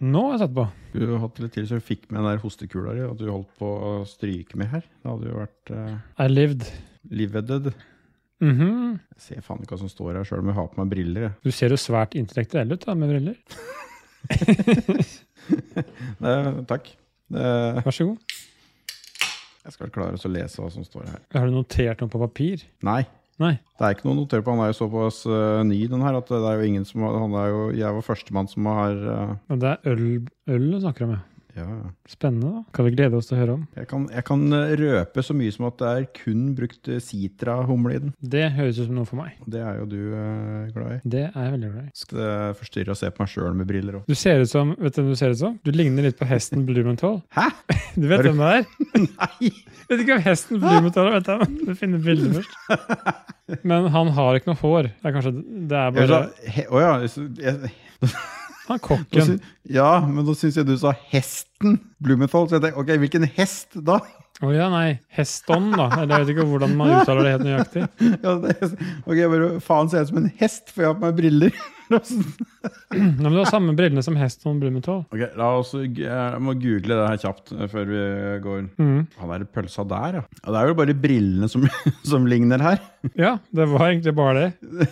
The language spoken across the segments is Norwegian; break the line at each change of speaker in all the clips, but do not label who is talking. Nå har jeg sett på.
Skulle eh, hatt litt til så du fikk med den der hostekula di, at du holdt på å stryke med her. Det hadde jo vært uh,
I lived.
livedded.
Mhm.
Jeg ser faen ikke hva som står her, sjøl om jeg har på meg briller. jeg.
Du ser jo svært intellektuell ut da, med briller.
Det- takk. Det-
Vær så god.
jeg skal klare å lese hva som står her.
Har du notert noe på papir?
Nei.
Nei.
Det er ikke noe å notere på. Han er jo såpass eh, ny, den her, at det er jo ingen som har han er jo, Jeg var førstemann som har eh,
Men det er øl, øl du snakker om, ja.
Ja, ja.
Spennende. da. Kan vi glede oss til å høre om.
Jeg kan, jeg kan eh, røpe så mye som at det er kun brukt eh, sitra-humle i den.
Det høres ut som noe for meg.
Det er jo du eh, glad i.
Det er jeg veldig glad i.
Det forstyrrer å se på meg sjøl med briller òg.
Du ser ut som, vet du hvem du ser ut som? Du ligner litt på hesten Blumenthal.
Hæ?
Du vet
Er du-
hvem det er?
Nei!
Vet ikke hvem hesten Blumenthal er, vet jeg. men Du finner bildet først. Men han har ikke noe hår. Det er kanskje, det er
Jeg
bare
sa Altså, he- Å ja. så- jeg-
Han
nå
kokken.
sy- Ja, men nå syns jeg du sa hesten Blumenthal. Så jeg tenkte, ok, hvilken hest da?
Å ja, nei. Heston, da. Eller jeg vet ikke hvordan man uttaler det helt nøyaktig.
Ja, det, ok, jeg bare, Faen, ser jeg ut som en hest, for jeg har på meg briller.
Nei, men Du har samme brillene som Heston Blumenthal.
ok, La oss eh, jeg må google det her kjapt eh, før vi går.
Mhm.
Han er pølsa der, ja. ja. Det er jo bare brillene som, som ligner her.
Ja, det var egentlig bare det.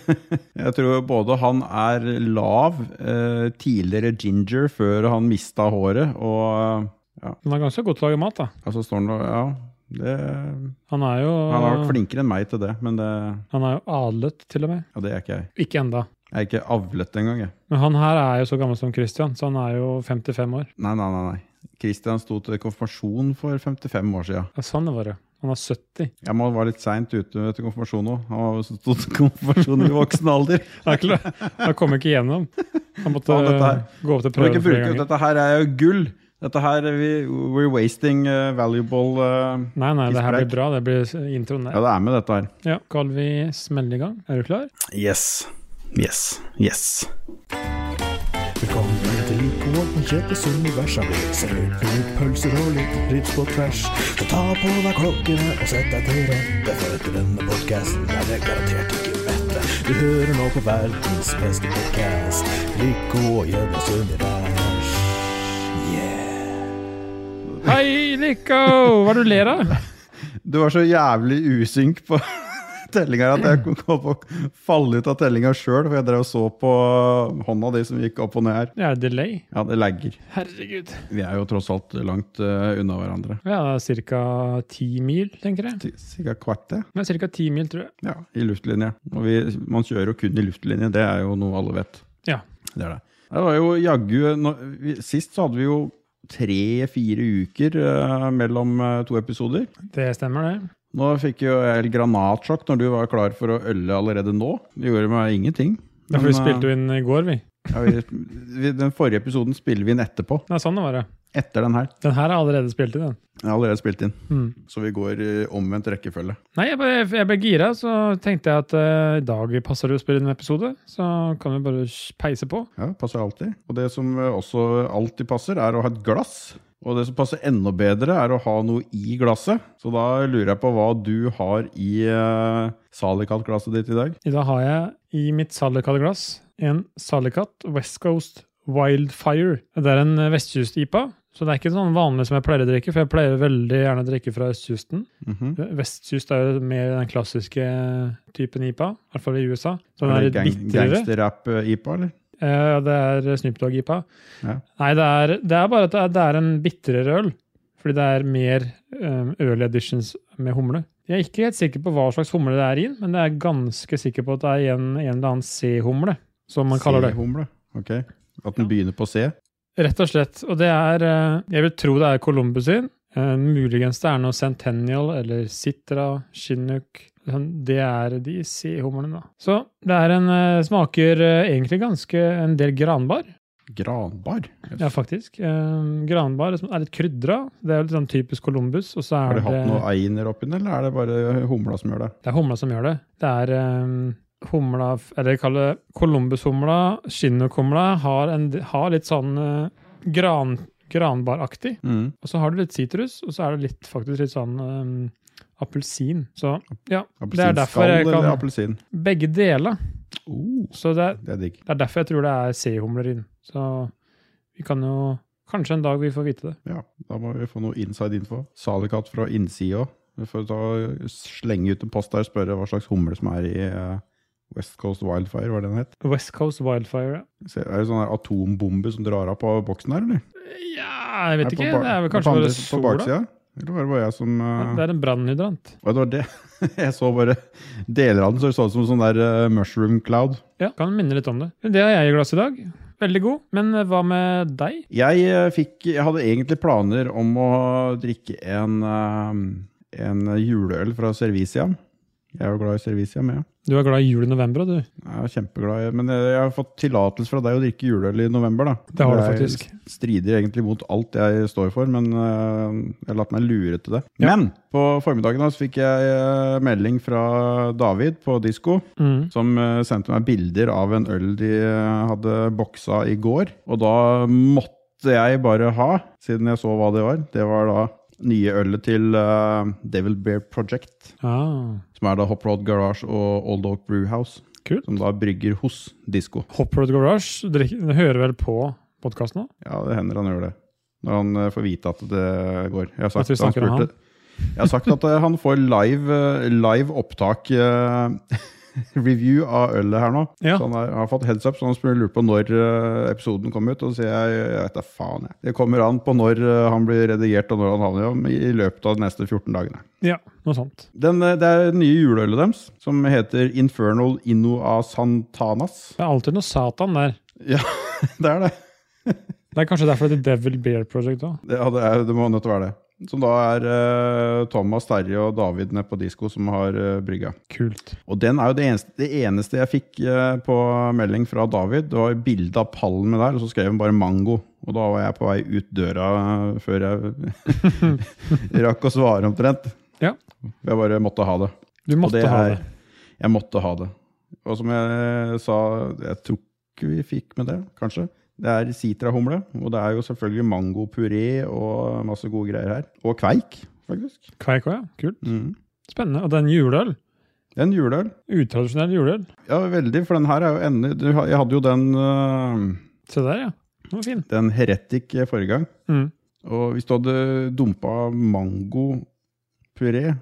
Jeg tror både han er lav, eh, tidligere ginger før han mista håret, og eh,
Han er ganske god til å lage mat, da.
ja, så står han og Ja, det
Han er jo,
Han har vært flinkere enn meg til det, men det,
han er jo adlet, til og med.
ja, det er ikke jeg.
Ikke enda.
Jeg er ikke avlet engang, jeg.
Men han her er jo så gammel som Christian, så han er jo 55 år.
Nei, nei, nei. nei. Christian sto til konfirmasjon for 55 år siden.
Ja, sånn var det. Han er 70.
Jeg må være litt seint ute til konfirmasjon òg. Han var- sto til konfirmasjon i voksen alder.
Han, er ikke, han kom ikke igjennom. Han måtte
Faen, dette her-
gå opp til
Kan vi
prøve
ikke
flere
bruke ut
ganger.
dette her? er jo gull! Dette her, vi, We're wasting eh, valuable eh,
Nei, nei, det her
Tidspreik.
blir bra. Det blir introen
Ja,
der.
det er med dette her.
Ja, skal vi smelle i gang? Er du klar?
Yes. Yes. Yes.
Velkommen til Lykolotten kjøpesunivers. Her blir det servert litt pølser og litt rips på tvers. Så ta på deg klokkene og sett deg til rette, for etter denne podkasten er dere garantert ikke mette. Du hører nå på verdens beste podkast, Lyko og Jøbbes univers. Yeah.
Hei, Lico! Hva er det du ler av?
Du var så jævlig usynk på tellinga at jeg kom på å falle ut av tellinga sjøl, for jeg drev og så på uh, hånda di som gikk opp og ned her.
Det er delay.
Ja, det lagger.
Herregud.
Vi er jo tross alt langt eh, unna hverandre.
Ja, det er ca. ti mil, tenker jeg.
Sikkert kvarte.
Det er ca. ti mil, tror jeg.
Ja, i luftlinje. Og vi, man kjører jo kun i luftlinje, det er jo noe alle vet.
Ja.
Det er det. Det var jo jaggu nå- vi- Sist så hadde vi jo tre-fire uker eh, mellom eh, to episoder.
Det stemmer, det.
Nå fikk jo jeg helt granatsjokk når du var klar for å ølle allerede nå. Det gjorde meg ingenting.
Derfor vi
Men,
spilte jo inn i går, vi.
eh, ja, vi, vi, den forrige episoden spiller vi inn etterpå.
Nei, sånn var det.
Etter den her.
Den her er allerede spilt inn, den.
Jeg har allerede spilt inn.
Mm.
Så vi går i omvendt rekkefølge.
Nei, jeg ble, jeg ble gira, så tenkte jeg at eh, i dag passer det å spille inn en episode. Så kan vi bare peise på.
Ja, passer alltid. Og det som eh, også alltid passer, er å ha et glass. Og det som passer enda bedre, er å ha noe i glasset. Så da lurer jeg på hva du har i uh, Salicat-glasset ditt i dag.
I dag har jeg i mitt Salicat-glass en Salicat West Coast Wildfire. Det er en eh, vestkyst-IPA, så det er ikke sånn vanlig som jeg pleier å drikke, for jeg pleier veldig gjerne å drikke fra østkysten.
Mhm.
Vestkyst er jo mer den klassiske eh, typen IPA, i hvert fall i USA. Så den
Er
er
det
litt bitrere.
Gangsterrap-ipa, eller?
Eh, Det er Snoop Dogg-IPA.
Ja.
Nei, det er, det er bare at det er, det er en bitrere øl. Fordi det er mer um, early editions med humle. Jeg er ikke helt sikker på hva slags humle det er i, den, men jeg er ganske sikker på at det er en, en eller annen C-humle, som man kaller det.
Humle. Ok. At den begynner på C.
Rett og slett. Og det er eh, Jeg vil tro det er Columbus sin. Eh, muligens det er noe Centennial eller Citra, Chinook Sånn, Det er de C-humlene, da. Så det er en eh, Smaker eh, egentlig ganske en del granbar.
Granbar.
Ja, faktisk. Eh, granbar liksom, er litt krydra. Det er jo litt sånn typisk Columbus. Og så
Har
er
de
det,
hatt noe einer oppi den, eller er det bare humla som gjør det?
det er humla som gjør det. Det er eh, humla Eller kall det Columbus-humla. Chinook-humla har, en- har litt sånn eh, gran, granbaraktig.
Mm.
Og så har du litt sitrus, og så er det litt, faktisk litt sånn eh, appelsin. Så ja, det er derfor
Appelsinskall
jeg
eller
kan
appelsin?
Begge deler.
Oh,
Så det er,
det er digg.
det er derfor jeg tror det er C-humler inn. Så vi Vi kan jo Kanskje en dag vi får vite det.
Ja, da må vi få noe inside info. Salikat fra innsida. Vi får ta, slenge ut en post der og spørre hva slags humle som er i eh, West Coast Wildfire, hva er det den het?
West Coast Wildfire.
Ser- Er det sånn her atombombe som drar av på boksen her, eller?
Ja, jeg vet
Nei, på
ikke.
bak-
Det er vel
på
kanskje
andre-
bare
På
sola?
baksida? Eller var det bare jeg som eh,
Det er en brannhydrant.
Å, det var det. Jeg så bare deler av den, så det så ut som sånn der eh, mushroom cloud.
Ja, kan minne litt om det. Men Det har jeg i glasset i dag. Veldig god. Men eh, hva med deg?
Jeg, eh, fikk, jeg hadde egentlig planer om å drikke en, eh, en juleøl fra Servicia. Jeg er jo glad i Servicia, men ja.
Du er glad i jul i november, du.
Jeg er kjempeglad. i- Men jeg jeg har fått tillatelse fra deg å drikke juleøl i november. da.
Det har du
Jeg
faktisk.
strider egentlig mot alt jeg står for, men øh, jeg har latt meg lure til det.
Ja.
Men på formiddagen da, så fikk jeg øh, melding fra David på disko,
Mm.
som øh, sendte meg bilder av en øl de øh, hadde boksa i går. Og da måtte jeg bare ha, siden jeg så hva det var. Det var da nye ølet til øh, Devil Bear Project,
Ah,
som er da Hop Rod Garage og Old Oak Brewhouse
kult.
som da brygger hos Disko.
Hop Road Garage drikk- hører vel på podkasten nå?
Ja, det hender han gjør det. Når han eh, får vite at det går. Jeg har
At vi
sagt, han
snakker om
spurte- Jeg har sagt at eh, han får live, eh, live opptak eh, Review av ølet her nå.
Ja.
Så han har, har fått heads up, så han spør- lurer på når eh, episoden kommer ut. Og så sier jeg jeg vet da faen, jeg. Det kommer an på når eh, han blir redigert og når han havner om, i løpet av de neste 14 dagene.
Ja, noe sånt.
Den, eh, det er det nye juleølet deres, som heter Infernal Inno a Santanas.
Det er alltid noe Satan der.
Ja, det er det.
Det er kanskje derfor det er Devil Bear Project òg.
Det, ja, det, er, det må nødt til å være det. Som da er eh, Thomas, Terje og David nede på disko som har eh, brygga.
Kult.
Og den er jo det eneste, det eneste jeg fikk eh, på melding fra David. Det var bilde av pallen med der, og så skrev han bare 'mango'. Og da var jeg på vei ut døra eh, før jeg rakk å svare omtrent.
Ja.
Jeg bare måtte ha det.
Du
Og
måtte
det
ha
er-
det.
Jeg måtte ha det. Og som jeg eh, sa, jeg tror ikke vi fikk med det, kanskje. Det er sitrahumle, og det er jo selvfølgelig mangopuré og masse gode greier her. Og kveik, faktisk.
Kveik òg, ja. Kult.
Mm.
Spennende. Og det er en juleøl.
Det er En juleøl.
Utradisjonell juleøl.
Ja, veldig, for den her er jo endelig du har- Jeg hadde jo den, øh,
Se der, ja. Den var fin.
den heretic forrige gang.
Mm.
Og hvis du hadde dumpa mangopuré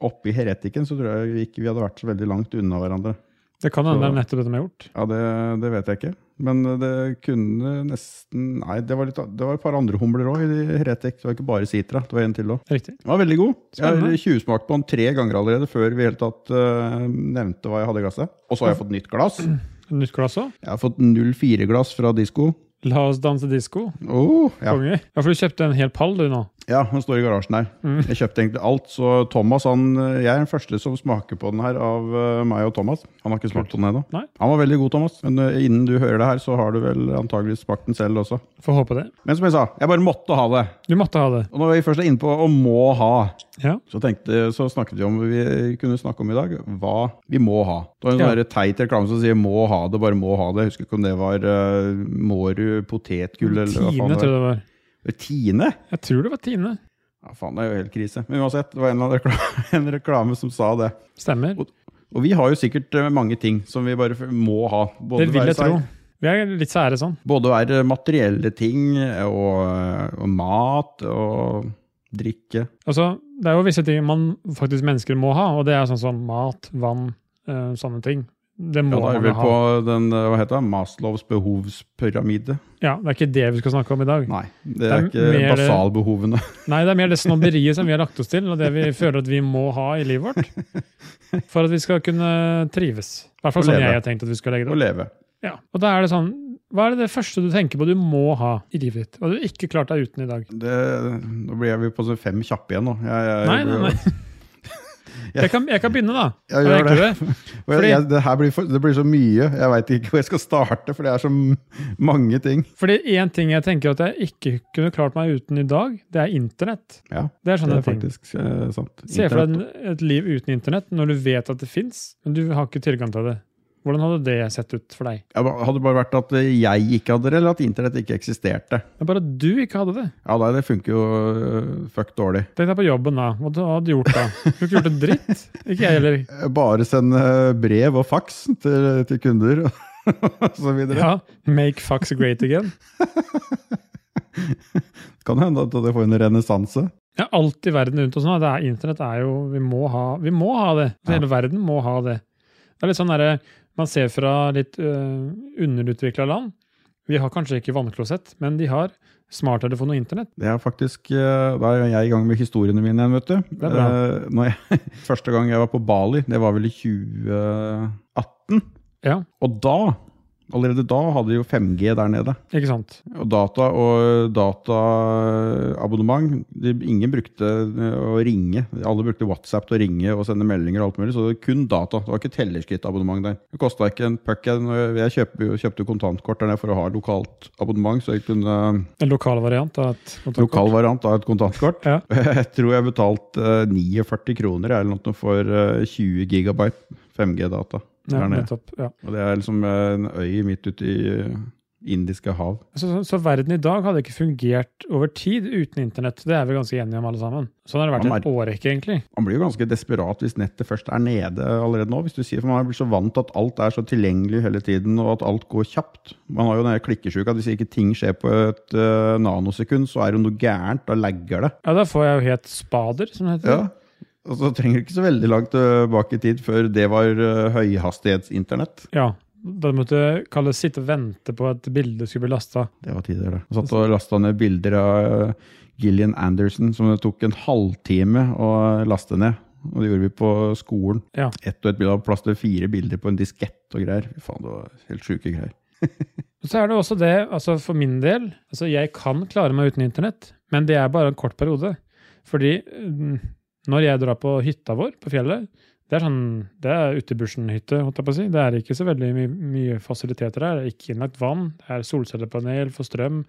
oppi heretikken, så tror jeg ikke vi hadde vært så veldig langt unna hverandre.
Det kan hende det
Så-
er nettopp det de har gjort.
Ja, det, det vet jeg ikke. Men det kunne nesten Nei, det var, litt, det var et par andre humler òg i Heretic. Det var ikke bare Sitra. Det var en til òg.
Riktig.
Den var veldig god. Jeg
Spennende.
har tjuvsmakt på den tre ganger allerede før vi i hele tatt eh, nevnte hva jeg hadde i glasset. Og så har jeg fått nytt glass.
Nytt glass òg.
Jeg har fått 04-glass fra disko.
La oss danse disko.
Oh, ja.
Konge. Ja, for du kjøpte en hel pall, du, nå.
ja, den står i garasjen her.
Mm.
Jeg kjøpte egentlig alt, så Thomas han, Jeg er den første som smaker på den her av eh, meg og Thomas. Han har ikke smakt på den ennå.
Nei.
Han var veldig god, Thomas. Men eh, innen du hører det her, så har du vel antageligvis smakt den selv også.
Får håpe det.
Men som jeg sa, jeg bare måtte ha det.
Du måtte ha det.
Og når vi først er inne på å må ha,
Ja.
så, tenkte, så snakket vi om vi kunne snakke om i dag hva vi må ha. Det var en
Ja.
sånn der teit reklame som sier 'må ha det', bare 'må ha det'. Jeg husker ikke om det var uh, Mårud potetgull eller hva
Tine,
faen det
tror jeg
var. Eh,
det var.
Tine?
Jeg tror det var Tine.
Ja, faen, det er jo helt krise. Men uansett, det var en, eller annen reklame, en reklame som sa det.
Stemmer.
Og vi har jo sikkert eh, mange ting som vi bare må ha.
Det
Både
vil
være
jeg
seg-
tro. Vi er litt sære sånn.
Både være materielle ting eh, og, og mat og drikke.
Altså, det er jo visse ting man faktisk mennesker må ha, og det er sånn som mat, vann, eh, sånne ting. Det må
Ja, da er vi
man
vel på
ha.
den, eh, hva heter det, Maslows behovspyramide.
Ja, det er ikke det vi skal snakke om i dag.
Nei, det er
Det er
ikke
mer-
basalbehovene.
Nei, det er mer det snobberiet som vi har lagt oss til, og det vi føler at vi må ha i livet vårt. For at vi skal kunne trives. I hvert fall
Og
sånn
leve.
jeg har tenkt at vi skal legge det
Å
opp.
leve.
Ja. Og da er det sånn, hva er det, det første du tenker på du må ha i livet ditt, og du ikke klarte deg uten i dag?
Det, nå blir jeg på sånn fem kjappe igjen nå. Jeg, jeg,
Nei, nei, nei. Jeg kan, jeg kan begynne, da.
Jeg
Er
gjør det.
enklere?
Og jeg, jeg, det her blir, for, det blir så mye. Jeg veit ikke hvor jeg skal starte, for det er så m- mange ting.
Fordi én ting jeg tenker at jeg ikke kunne klart meg uten i dag, det er internett.
Ja,
Det er
det
sånne
er
ting.
faktisk eh, sant.
Se for
Internett.
deg en- et liv uten internett når du vet at det fins, men du har ikke tilgang til det. Hvordan hadde det sett ut for deg?
Ja, ba- hadde det bare vært at eh, jeg ikke hadde det, eller at internett ikke eksisterte.
Det er bare at du ikke hadde det.
Ja, nei, det funker jo eh, fuck dårlig.
Tenk deg på jobben, da. Hva du hadde gjort da? Du hadde ikke gjort en dritt. Ikke jeg heller.
eh, Bare sende brev og faks til, til kunder. og så videre.
Ja, Make fucks great again.
Kan hende at det får en renessanse.
Ja, alt i verden rundt oss nå. Det er, internett er jo Vi må ha, vi må ha det.
Ja.
Hele verden må ha det. Det er litt sånn derre Man ser fra litt øh, underutvikla land. Vi har kanskje ikke vannklosett, men de har smarttelefon og internett.
Det er faktisk, eh, Da er jeg i gang med historiene mine igjen, vet du.
Det er bra.
Eh, Når jeg, første gang jeg var på Bali, det var vel i 2018.
Ja,
Og da, allerede da, hadde de jo 5G der nede.
ikke sant?
Og data og dataabonnement de, Ingen brukte eh, å ringe. Alle brukte WhatsApp til å ringe og sende meldinger. og alt mulig, Så det var kun data. Det var ikke tellerskrittabonnement der. Det kosta ikke en puck. Jeg, når jeg kjøpte, jo- kjøpte kontantkort der nede for å ha lokalt abonnement. Så jeg kunne
En lokal variant av et kontaktkort.
Lokal variant av et kontantkort.
Ja.
Jeg tror jeg betalte eh, 49 kroner eller noe for eh, 20 gigabyte 5G-data.
Ja,
der nede.
nettopp. Ja.
Og det er liksom eh, en øy midt ute i eh, indiske hav.
Så, så, så verden i dag hadde ikke fungert over tid uten internett. Det er vi ganske enige om, alle sammen. Sånn har det
Man
vært en årrekke, egentlig.
Man blir jo ganske desperat hvis nettet først er nede allerede nå. Hvis du sier, for Man blir så vant til at alt er så tilgjengelig hele tiden, og at alt går kjapt. Man har jo den der klikkesjuka at hvis ikke ting skjer på et eh, nanosekund, så er det noe gærent. Da lagger det.
Ja, da får jeg jo helt spader, som det heter.
Ja. Og så trenger du ikke så veldig langt tilbake i tid før det var eh, høyhastighetsinternett.
Ja. Da måtte jeg kalle sitte og vente på at bildet skulle bli lasta.
Det var tider, det. Jeg satt og lasta ned bilder av eh, Gillian Anderson, som det tok en halvtime å laste ned. Og det gjorde vi på skolen.
Ja.
Ett og ett bilde av plass til fire bilder på en diskett og greier. Fy faen, det var helt sjuke greier.
Så er det også det, altså for min del altså Jeg kan klare meg uten internett, men det er bare en kort periode. Fordi mm, når jeg drar på hytta vår på fjellet Det er sånn, det er ute i bushen-hytte, holdt jeg på å si. Det er ikke så veldig my mye fasiliteter der. Det er ikke innlagt vann. Det er solcellepanel for strøm.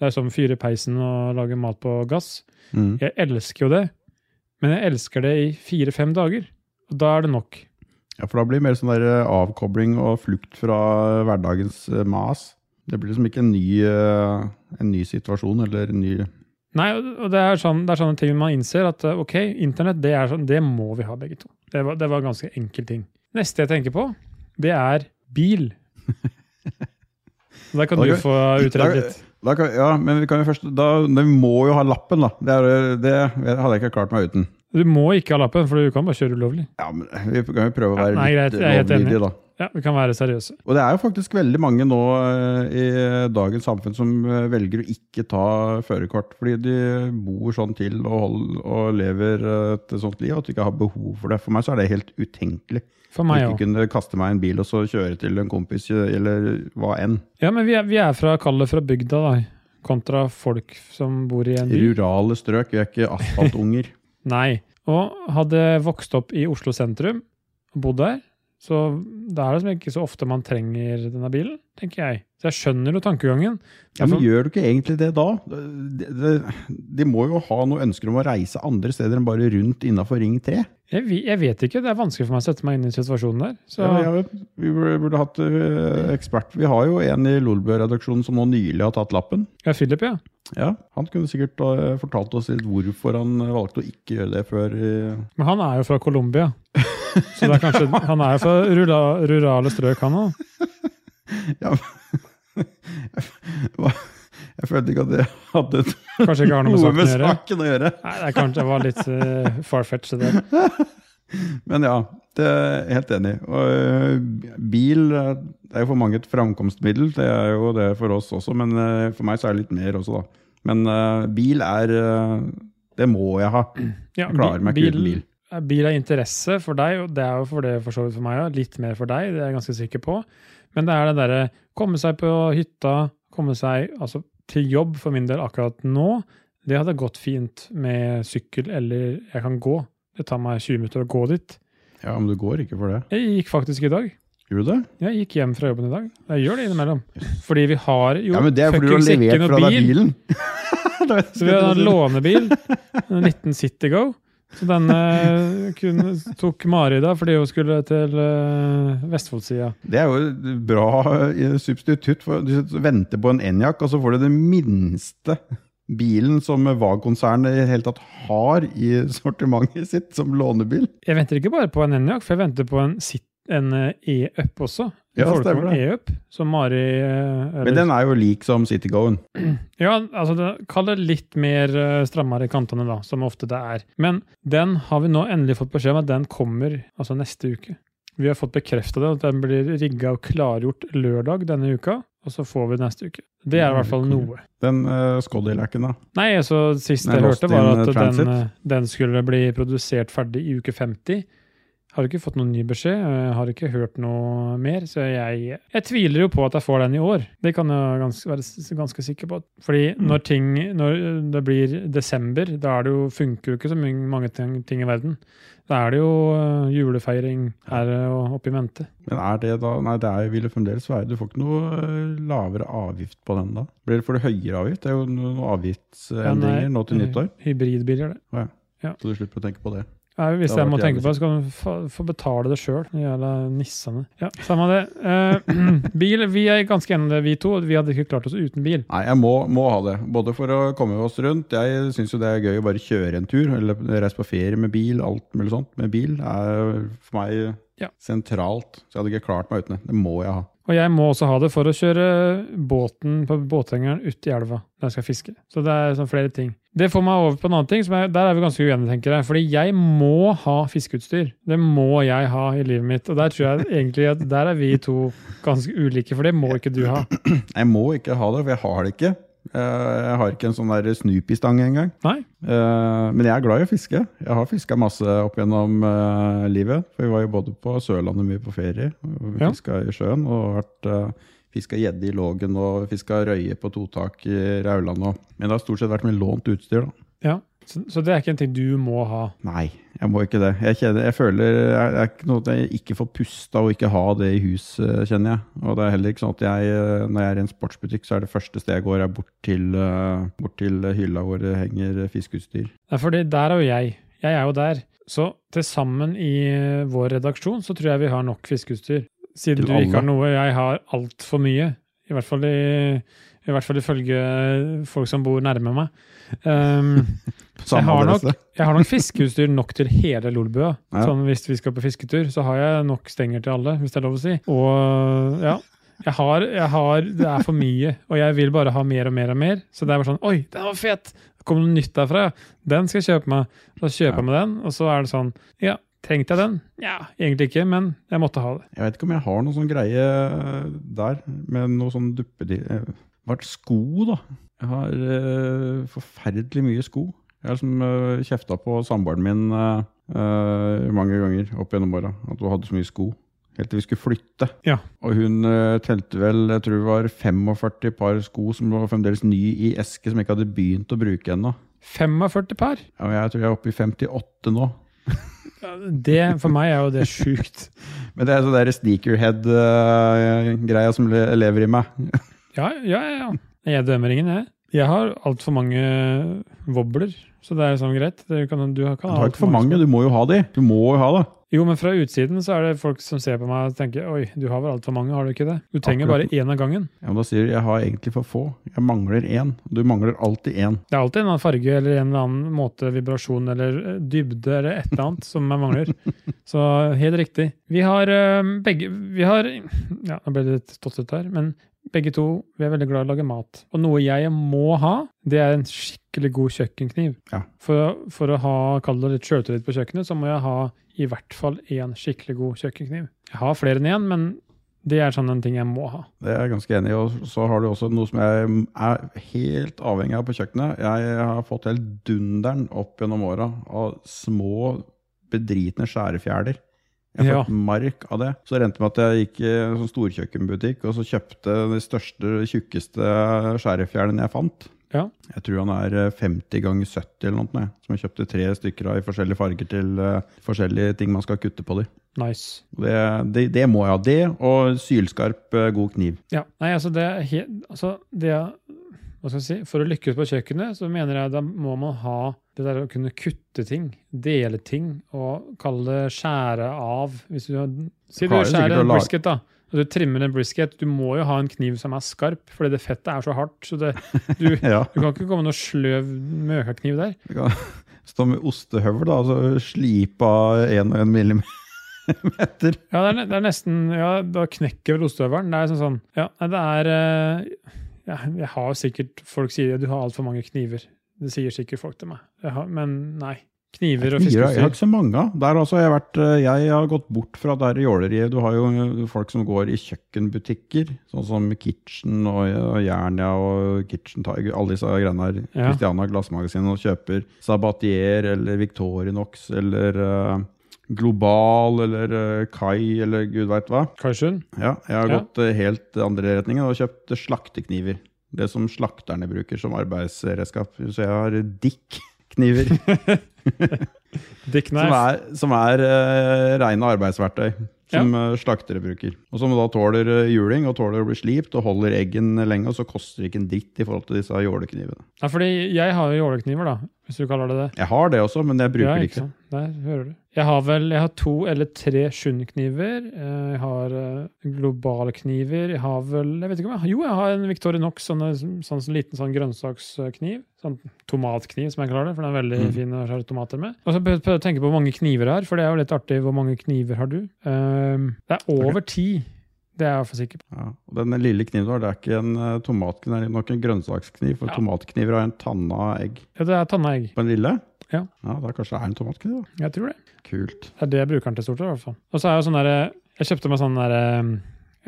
Det er som å fyre i peisen og lage mat på gass.
Mm.
Jeg elsker jo det, men jeg elsker det i fire-fem dager. Og da er det nok.
Ja, for da blir det mer sånn der eh, avkobling og flukt fra hverdagens eh, mas. Det blir liksom ikke en ny, eh, en ny situasjon eller en ny
Nei, og og det er, sånn, det er sånne ting man innser at eh, ok, internett, det, er sånn, det må vi ha begge to. Det var, det var en ganske enkel ting. Neste jeg tenker på, det er bil. Så Der kan
Da
du
kan-
få utredet litt.
Da kan, ja, men vi kan jo først da, da Vi må jo ha lappen, da. Det, er, det hadde jeg ikke klart meg uten.
Du må ikke ha lappen, for du kan bare kjøre ulovlig.
Ja, men Vi kan jo prøve å
Ja,
være
nei, greit,
litt
jeg er helt enig.
lovlydige, da.
Ja, vi kan være seriøse.
Og det er jo faktisk veldig mange nå eh, i dagens samfunn som eh, velger å ikke ta førerkort fordi de bor sånn til og, hold, og lever eh, et sånt liv at de ikke har behov for det. For meg så er det helt utenkelig.
For
Å
meg
ikke
òg.
kunne kaste meg i en bil og så kjøre til en kompis eh, eller hva enn.
Ja, men vi er, vi er fra kallet fra bygda, da. Kontra folk som bor i en by.
Rurale strøk, vi er ikke asfaltunger.
Nei. Og hadde vokst opp i Oslo sentrum og bodd der, så det er liksom ikke så ofte man trenger denne bilen, tenker jeg. Så jeg skjønner jo tankegangen.
Ja,
Mm.
men gjør du ikke egentlig det da? De, de, de må jo ha noe ønsker om å reise andre steder enn bare rundt innafor Ring 3.
jeg, vi- jeg vet ikke, det er vanskelig for meg å sette meg inn i situasjonen der. Så
Ja, jeg vet. Vi burde, burde hatt eh, ekspert. Vi har jo en i Lolbø-redaksjonen som nå nylig har tatt lappen.
ja, Philip, ja.
Ja, Han kunne sikkert eh, fortalt oss litt hvorfor han eh, valgte å ikke gjøre det før eh,
Men han er jo fra Colombia. Så det er kanskje, han er jo fra rura, rurale strøk, han òg.
Jeg følte ikke at det hadde
Kanskje ikke har noe med
noe
saken å gjøre.
med saken å gjøre.
Nei, det er kanskje det var litt uh, farfetch, det der.
Men ja, det er helt enig. Og, eh, bil eh, det er jo for mange et framkomstmiddel. Det er jo det for oss også, men eh, for meg så er det litt mer også, da. Men eh, bil er eh, Det må jeg ha.
Ja,
Jeg klarer meg ikke uten bil.
Eh, Bil er interesse for deg, og det er jo for det for så vidt for meg òg. Litt mer for deg, det er jeg ganske sikker på. Men det er det derre komme seg på hytta, komme seg altså, til jobb for min del akkurat nå. Det hadde gått fint med sykkel, eller jeg kan gå. Det tar meg 20 minutter å gå dit.
Ja, Men du går ikke for det.
Jeg gikk faktisk i dag.
Gjør du det?
Jeg gikk hjem fra jobben i dag. Jeg gjør det innimellom. Fordi vi har jo
Ja, men det er fordi du har
fuckings ikke
levert
noe
fra deg
bil.
bilen. Det var det jeg
Så vi hadde en
skulle si.
lånebil, en liten Citygo. Så den eh, kunne, tok Mari da, fordi hun skulle til eh, Vestfoldsida.
Det er jo et bra eh, substitutt. For, du sitter og venter på en Enjak, og så får du den minste bilen som VAG-konsernet i det hele tatt har i sortimentet sitt som lånebil.
Jeg venter ikke bare på en Enyaq, for jeg venter på en, Cit- en eh, E-Up også.
Ja, stemmer det.
Eup, som Mari eh, eller-
Men den er jo lik som Citygoen.
Ja, altså det, kall det litt mer eh, strammere i kantene, da, som ofte det er. Men den har vi nå endelig fått beskjed om at den kommer altså neste uke. Vi har fått bekrefta det, at den blir rigga og klargjort lørdag denne uka. Og så får vi den neste uke. Det er i hvert fall noe.
Den uh, Scoddy-lacken, da.
Nei, altså sist
Nei,
jeg
Lost
hørte, var
in
at
Transit.
den, eh, den skulle bli produsert ferdig i uke 50. Har ikke fått noen ny beskjed, eh, har ikke hørt noe mer, så jeg, jeg tviler jo på at jeg får den i år. Det kan jeg ganske, være s- ganske sikker på. Fordi
Mm.
når, ting, når eh, det blir desember, da er det jo, funker jo ikke så my- mange ting, ting i verden. Da er det jo eh, julefeiring her eh, og oppe i mente.
Men er det da Nei, det er, vil det fremdeles være. Du får ikke noe eh, lavere avgift på den da? Blir det for det høyere avgift? Det er jo noen avgiftsendringer nå til nyttår.
Hybridbiler, det.
Så du slipper å tenke på det.
Nei, hvis
Det
jeg
hadde
må
vært
tenke
jævlig
på det, så kan du få, få betale det sjøl. Jævla nissene. Ja, samme det. Eh, bil, vi er ganske enige om det, vi to. Vi hadde ikke klart oss uten bil.
Nei, jeg må, må ha det. Både for å komme oss rundt. Jeg syns jo det er gøy å bare kjøre en tur, eller reise på ferie med bil. Alt mulig sånt med bil er for meg
Ja.
sentralt. Så jeg hadde ikke klart meg uten det. Det må jeg ha.
Og jeg må også ha det for å kjøre båten på båthengeren ut i elva når jeg skal fiske. Så det er sånn flere ting. Det får meg over på en annen ting, som er, der er vi ganske uenige, tenker jeg. Fordi jeg må ha fiskeutstyr. Det må jeg ha i livet mitt. Og der tror jeg egentlig at der er vi to ganske ulike, for det må ikke du ha.
Jeg må ikke ha det, for jeg har det ikke. Eh, Jeg har ikke en sånn der Snoopy-stang engang.
Nei?
Eh, Men jeg er glad i å fiske. Jeg har fiska masse opp gjennom eh, livet. For vi var jo både på Sørlandet mye på ferie. og Vi
Ja.
fiska i sjøen og vært eh, Fiska gjedde i Lågen og fiska røye på totak i Rauland. Og. Men det har stort sett vært med lånt utstyr. da.
Ja. Så, så det er ikke en ting du må ha.
Nei, jeg må ikke det. Jeg, kjenner, jeg føler jeg, Det er ikke noe at jeg ikke får pusta og ikke ha det i hus, eh, kjenner jeg. Og det er heller ikke sånn at jeg, eh, når jeg er i en sportsbutikk, så er det første sted jeg går, er bort til, eh, bort til hylla hvor det henger fiskeutstyr.
Nei, fordi der er jo jeg. Jeg er jo der. Så til sammen i eh, vår redaksjon så tror jeg vi har nok fiskeutstyr. Siden
Til
du ikke
alle.
har noe, jeg har altfor mye. I hvert fall i, i hvert fall ifølge folk som bor nærme meg. Ehm, jeg, har nok, jeg har nok fiskeutstyr nok til hele Lolbua.
Ja.
Sånn hvis vi skal på fisketur, så har jeg nok stenger til alle, hvis det er lov å si. Og ja. Jeg har, jeg har, Det er for mye, og jeg vil bare ha mer og mer og mer. Så det er bare sånn Oi, den var fet! Det kom noe nytt derfra. ja. Den skal jeg kjøpe meg. Så kjøper jeg meg den, og så er det sånn Ja, trengte jeg den? Ja, egentlig ikke, men jeg måtte ha det.
Jeg vet ikke om jeg har noen sånn greie der, med noe sånn duppedi... Det har vært sko, da. Jeg har eh, forferdelig mye sko. Jeg har liksom eh, kjefta på samboeren min eh, eh, mange ganger opp gjennom åra at hun hadde så mye sko. Helt til vi skulle flytte.
Ja.
Og hun eh, telte vel jeg tror det var 45 par sko som var fremdeles ny i eske, som jeg ikke hadde begynt å bruke ennå.
45 par!
Ja, men Jeg tror jeg er oppe i 58 nå.
Ja, Det, for meg er jo det sjukt.
Men det er sånn der sneakerhead-greia som le lever i meg.
Ja, ja, ja, ja. Jeg dømmer ingen, jeg. Jeg har altfor mange eh, wobbler, så det er sånn greit. Du kan, du kan
Du
ha
har
alt
ikke for mange,
sko.
du må jo ha de. Du må jo ha det.
Jo, men fra utsiden så er det folk som ser på meg og tenker Oi, du har vel altfor mange, har du ikke det? Du trenger
Akkurat.
bare én av gangen.
Ja, men da sier du jeg har egentlig for få. Jeg mangler én. Du mangler alltid én.
Det er alltid en annen farge eller en eller annen måte, vibrasjon eller eh, dybde eller et eller annet som jeg mangler. Så helt riktig. Vi har eh, begge Vi har Ja, nå ble det litt tottete her, men begge to vi er veldig glad i å lage mat. Og noe jeg må ha, det er en skikkelig god kjøkkenkniv.
Ja.
For, for å ha, kalle det litt sjøltillit på kjøkkenet, så må jeg ha i hvert fall én skikkelig god kjøkkenkniv. Jeg har flere enn én, men det er sånn en ting jeg må ha.
Det er jeg ganske enig i. Og så har du også noe som jeg er helt avhengig av på kjøkkenet. Jeg har fått helt dunderen opp gjennom åra av små, bedritne skjærefjerder. Jeg har
Ja.
fått mark av det. Så det endte med at jeg gikk i en sånn storkjøkkenbutikk og så kjøpte de største, tjukkeste skjærefjerdene jeg fant.
Ja.
Jeg tror han er eh, 50 ganger 70 eller noe. jeg, Som jeg kjøpte tre stykker av i forskjellige farger til eh, forskjellige ting man skal kutte på de.
Nice.
Og Det, det, det må jeg ha. Det og sylskarp, eh, god kniv.
Ja, nei, altså det er helt, altså det er, hva skal jeg si, for å lykkes på kjøkkenet, så mener jeg da må man ha det der å kunne kutte ting, dele ting, og kalle det skjære av. Hvis du, har- si du
Klarer sikkert
skjærer
å
en
lage-
brisket da, og du trimmer en brisket, du må jo ha en kniv som er skarp, fordi det fettet er så hardt, så det, du,
Ja.
du kan ikke komme noe sløv møkakniv der.
altså Du kan stå med ostehøvel da, og så slipe av 1 og 1 millimeter. meter.
Ja, det er, ne- det er nesten Ja, da knekker vel ostehøvelen. Det er sånn sånn Ja, nei, det er eh, ja, Jeg har sikkert Folk sier at du har altfor mange kniver. Det sier sikkert folk til meg. Jeg har, men nei. Kniver og
Fire, jeg har
fiskeutstyr.
ikke så mange. av. Der også har jeg, vært, eh, jeg har gått bort fra det her jåleriet. Du har jo eh, folk som går i kjøkkenbutikker, sånn som Kitchen og og Jernia og Kitchen Tiger, alle disse greiene her.
Ja.
Christiana Glassmagasin og kjøper Sabatier eller Victorinox eller eh, Global eller eh, Kai eller gud veit hva.
Karsund?
Ja, jeg har
Ja.
gått eh, helt andre retningen og kjøpt slaktekniver. Det som slakterne bruker som arbeidsredskap. Så jeg har dikk-kniver.
Dick
Som
Knife?
er, som er eh, rene arbeidsverktøy som eh, slaktere bruker. Og som da tåler eh, juling og tåler å bli slipt og holder eggen lenge. Og så koster det ikke en dritt i forhold til disse jåleknivene.
Nei, fordi jeg har jo jålekniver, da. Hvis du kaller det det.
Jeg har det også, men jeg bruker
Ja,
det
ikke
ikke.
sant? Der hører du. Jeg har vel jeg har to eller tre Schund-kniver. eh, Jeg har eh, globalkniver. Jeg har vel jeg vet ikke om jeg har, Jo, jeg har en Victorinox, sånn, sånn, sånn liten sånn grønnsakskniv. Sånn tomatkniv, som jeg klarer det, for den er veldig
Mm.
fin å skjære tomater med. Og så prøv- prøvde jeg å tenke på hvor mange kniver jeg har, for det er jo litt artig. Hvor mange kniver har du? Ehm, det er over ti. Det er jeg iallfall sikker på.
Ja. Og den lille kniven du har, det er ikke en eh, tomatkniv, det er nok en grønnsakskniv. For
Ja.
tomatkniver har en tanna egg
Ja, det er tanna egg.
på den lille.
Ja.
da kanskje det er en tomatkniv, da.
Jeg tror det.
Kult.
Det er det jeg bruker den til stort sett, i hvert fall. Og så er jo sånn derre Jeg kjøpte meg sånn derre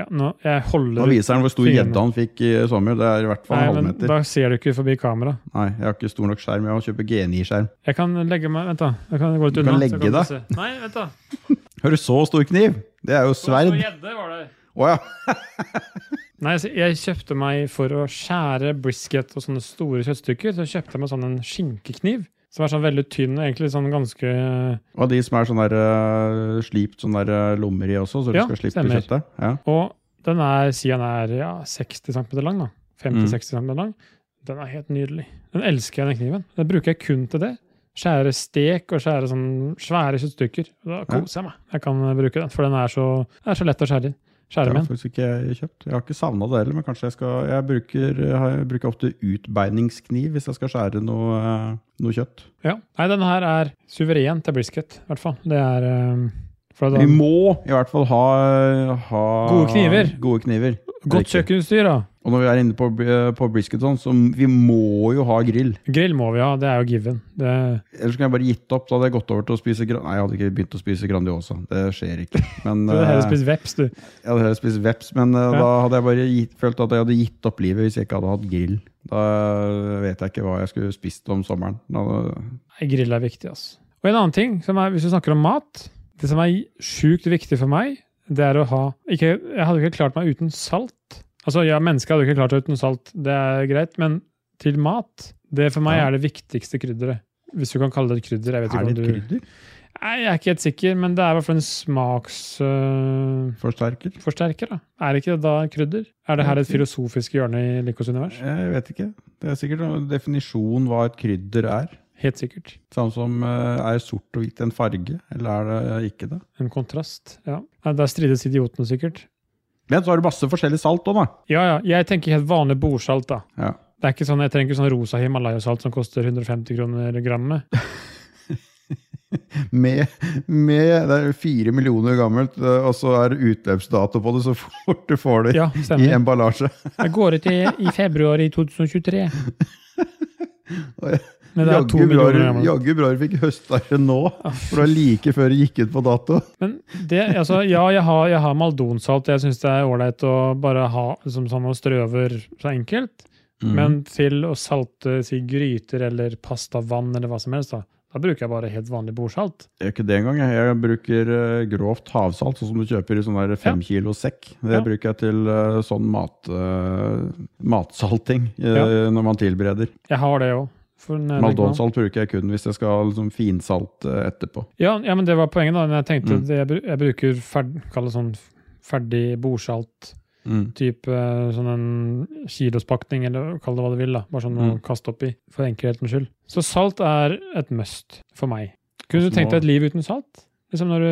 ja, nå, jeg
Da
holder
viser han hvor stor
Fine.
gjedda han fikk i sommer. Det er i hvert fall en
Nei, men
halvmeter.
da ser du ikke forbi kamera.
Nei, jeg har ikke stor nok skjerm. Jeg må kjøpe GNI-skjerm.
Jeg kan legge meg Vent, da. Jeg kan gå litt
Du
unna.
kan
så
legge
du
deg.
se. Nei, vent, da.
Hører du, så stor kniv! Det er jo
Så stor
sverd.
gjedde var det.
Å ja.
Nei, så jeg kjøpte meg for å skjære brisket og sånne store kjøttstykker, så kjøpte jeg meg sånn en skinkekniv. Som er sånn veldig tynn, og egentlig sånn ganske
Og de som er sånn der eh, slipt sånn der eh, lommer i også, så du
Ja,
skal slippe
stemmer.
kjøttet. Ja.
Og den er, siden den er ja, 60 cm lang, da.
Mm.
50-60 cm lang. Den er helt nydelig. Den elsker jeg, den kniven. Den bruker jeg kun til det. Skjære stek og skjære sånn svære kjøttstykker. Og Da koser jeg meg. Jeg kan eh, bruke den, for den er så, den er så lett å skjære, inn.
Det
skjære
har
med. den.
faktisk ikke jeg kjøpt. Jeg har ikke savna det heller, men kanskje jeg skal Jeg bruker, jeg bruker ofte utbeiningskniv hvis jeg skal skjære noe, eh, noe kjøtt.
Ja. Nei, den her er suveren til brisket, i hvert fall. Det er ehm, for da,
Vi må i hvert fall ha, ha
Gode kniver.
Gode kniver.
Godt
Riktig.
kjøkkenutstyr, da.
Og når vi er inne på, eh, på brisket, sånn, så vi må jo ha grill.
Grill må vi ha, det er jo given. Det,
Ellers kunne jeg bare gitt opp. Da hadde jeg gått over til å spise gran... Nei, jeg hadde ikke begynt å spise Grandiosa. Det skjer ikke. Men,
du hadde
eh,
heller spist veps, du.
Jeg hadde heller spist veps, men eh, da hadde jeg bare gitt, følt at jeg hadde gitt opp livet hvis jeg ikke hadde hatt grill. Da eh, vet jeg ikke hva jeg skulle spist om sommeren. Da, eh,
Nei, grill er viktig, altså. Og en annen ting, som er, hvis du snakker om mat Det som er sjukt viktig for meg, det er å ha ikke, Jeg hadde ikke klart meg uten salt. Altså, ja, mennesket hadde ikke klart seg uten salt, det er greit, men til mat Det for meg
Ja.
er det viktigste krydderet. Hvis du kan kalle det et krydder. Jeg vet ikke
er det
om
et
du...
krydder?
Nei, jeg er ikke helt sikker, men det er i hvert fall en smaksforsterker.
Forsterker?
da. Er ikke det da krydder? Er det her et filosofisk hjørne i Likos univers?
Jeg vet ikke. Det er sikkert noen definisjon hva et krydder er.
Helt sikkert.
Samme som eh, er sort og hvitt en farge, eller er det ikke det?
En kontrast. Ja. Nei, der strides idiotene sikkert.
Men så har du masse forskjellig salt òg, da.
Ja, ja. Jeg tenker helt vanlig bordsalt, da.
Ja.
Det er ikke sånn, Jeg trenger ikke sånn rosa Himalaya-salt som koster 150 kroner grammet.
Med, med Det er fire millioner gammelt, eh, og så er det utløpsdato på det så fort du får det
Ja,
i
stemmer.
emballasje.
Jeg går ut i, i februar i 2023.
Oi.
Men det er to
Jaggu bra
millioner Ah,
du-
gammel.
Jaggu bra du fikk høsta det nå, for det var like før det gikk ut på dato.
Men det, altså, ja, jeg har, jeg har maldonsalt. Jeg syns det er ålreit å bare ha liksom, sånn å strø over så enkelt.
Mm.
Men til å salte si, gryter eller pastavann eller hva som helst, da, da bruker jeg bare helt vanlig bordsalt.
Det er ikke det engang. Jeg Jeg bruker eh, grovt havsalt, sånn som du kjøper i sånn der fem kilo sekk. Det
Ja.
bruker jeg til eh, sånn mat, eh, matsalting eh,
Ja.
når man tilbereder.
Jeg har det òg.
Maldonsalt bruker jeg kun hvis jeg skal liksom, finsalte eh, etterpå.
Ja, ja, men det var poenget da. når Jeg tenkte
Mm.
det, jeg, bru- jeg bruker ferd, kall det sånn ferdig bordsalt
Mm.
type sånn en kilospakning, eller kall det hva du vil, da. Bare sånn å
Mm.
kaste oppi, for enkelhetens skyld. Så salt er et must for meg. Kunne
Hvordan
du tenkt
var-
deg et liv uten salt? Liksom når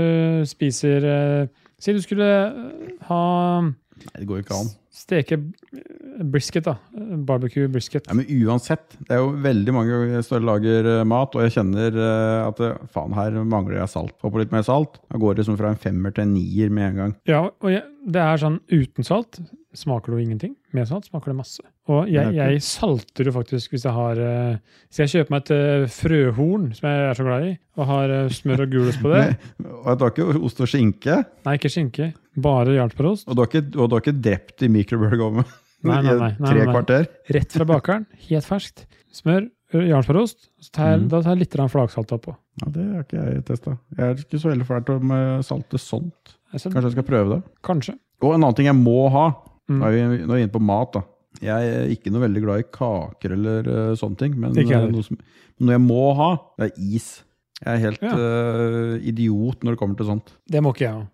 du spiser eh, Si du skulle eh, ha
Nei, det går jo ikke an.
Steke eh, brisket, da. Eh, Barbecue brisket.
Nei, men uansett, det er jo veldig mange større lager eh, mat, og jeg kjenner eh, at eh, faen, her mangler jeg salt. Håper litt mer salt. Da går det liksom fra en femmer til en nier med en gang.
Ja, og jeg, det er sånn uten salt smaker det jo ingenting. Med salt smaker det masse. Og jeg,
Men det er
jeg salter jo faktisk hvis jeg har eh, Hvis jeg kjøper meg et eh, frøhorn, som jeg er så glad i, og har eh, smør og gulost på det
Men- Og du har ikke ost og skinke,
Nei, ikke skinke. Bare jarlsbergost.
og du har ikke, og du har ikke drept i mikrobølgeovnen
Nei, nei, nei,
i
nei,
tre
nei, nei.
kvarter.
Rett fra bakeren. Helt ferskt. Smør, jarlsbergost. Så tar jeg,
Mhm.
Da tar jeg litt grann flaksalt oppå.
Ja, Det har ikke jeg testa. Jeg er ikke så veldig fæl til å eh, salte sånt.
Altså,
Kanskje jeg skal prøve det.
Kanskje.
Og en annen ting jeg må ha,
Mm.
nå er vi nå er vi inne på mat. da. Jeg er ikke noe veldig glad i kaker eller eh, sånne ting, men
Ikke jeg
eh,
heller.
noe, som, noe jeg må ha, det er is. Jeg er helt
Ja.
eh, idiot når det kommer til sånt.
Det må ikke jeg ha.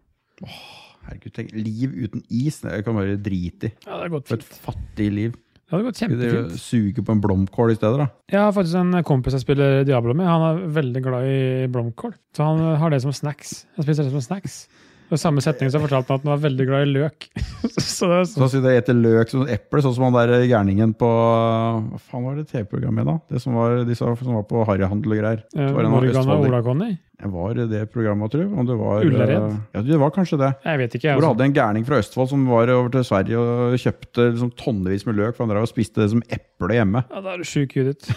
Herregud, tenk, Liv uten is det kan være drit i.
Ja, det hadde gått
For et
fint.
fattig liv.
Det hadde gått
Skulle dere
kjempefint.
Suge på en blomkål i stedet, da.
Jeg har faktisk en kompis jeg spiller Diablo med. Han er veldig glad i blomkål. Så han har det som snacks. Han spiser det som snacks. Og i samme setning så fortalte han at han var veldig glad i løk. så det er
Så
sånn.
å si det etter løk som eple, sånn som han der gærningen på Hva faen var det TV-programmet da? Det som var, de som som var på harryhandel og greier.
eh,
Så var det noen
Morgan og
østfoldinger.
Ola Conny?
Jeg var i det programmet, tror jeg. Om det var,
Ullared?
eh, Ja, det var kanskje det.
Jeg vet ikke. jeg,
Hvor du
Altså.
hadde en gærning fra Østfold som var over til Sverige og kjøpte liksom tonnevis med løk, for han drev og spiste det som eple hjemme.
Ja, da er du sjuk, Judith.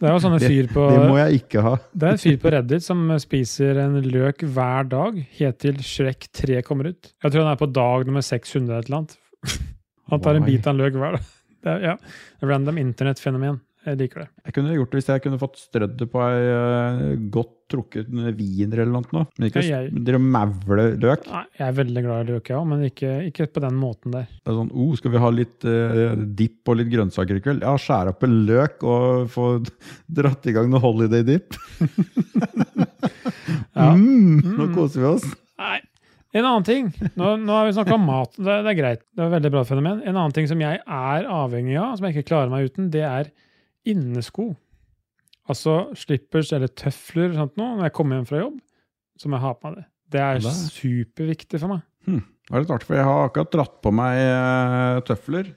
Det er jo sånne fyr på
Det må jeg ikke ha.
Det er en fyr på Reddit som spiser en løk hver dag, helt til Shrek 3 kommer ut. Jeg tror han er på dag nummer 600 eller et eller annet. Han tar en
Why?
bit av en løk hver dag. Det er, ja, random internettfenomen. Jeg liker det.
Jeg kunne gjort det hvis jeg kunne fått strødd det på ei eh, godt trukket wiener eller noe. sånt nå. Men ikke
Ja, jeg-
s- drive og mævle løk.
Nei, jeg er veldig glad i løk, ja, men ikke, ikke på den måten der.
Det er sånn, oh, skal vi ha litt eh, dipp og litt grønnsaker i kveld? Ja, skjære opp en løk og få dratt i gang noe holiday dip.
Ja.
mm, nå koser vi oss.
Nei. En annen ting. Nå, nå har vi snakka om mat. Det, det er greit. Det er et veldig bra fenomen. En annen ting som jeg er avhengig av, som jeg ikke klarer meg uten, det er innesko. Altså slippers eller tøfler sånt noe. Når jeg kommer hjem fra jobb, så må jeg ha på meg det. Det er
Ja, det er.
superviktig for meg.
Det var litt artig, for jeg har akkurat dratt på meg eh, tøfler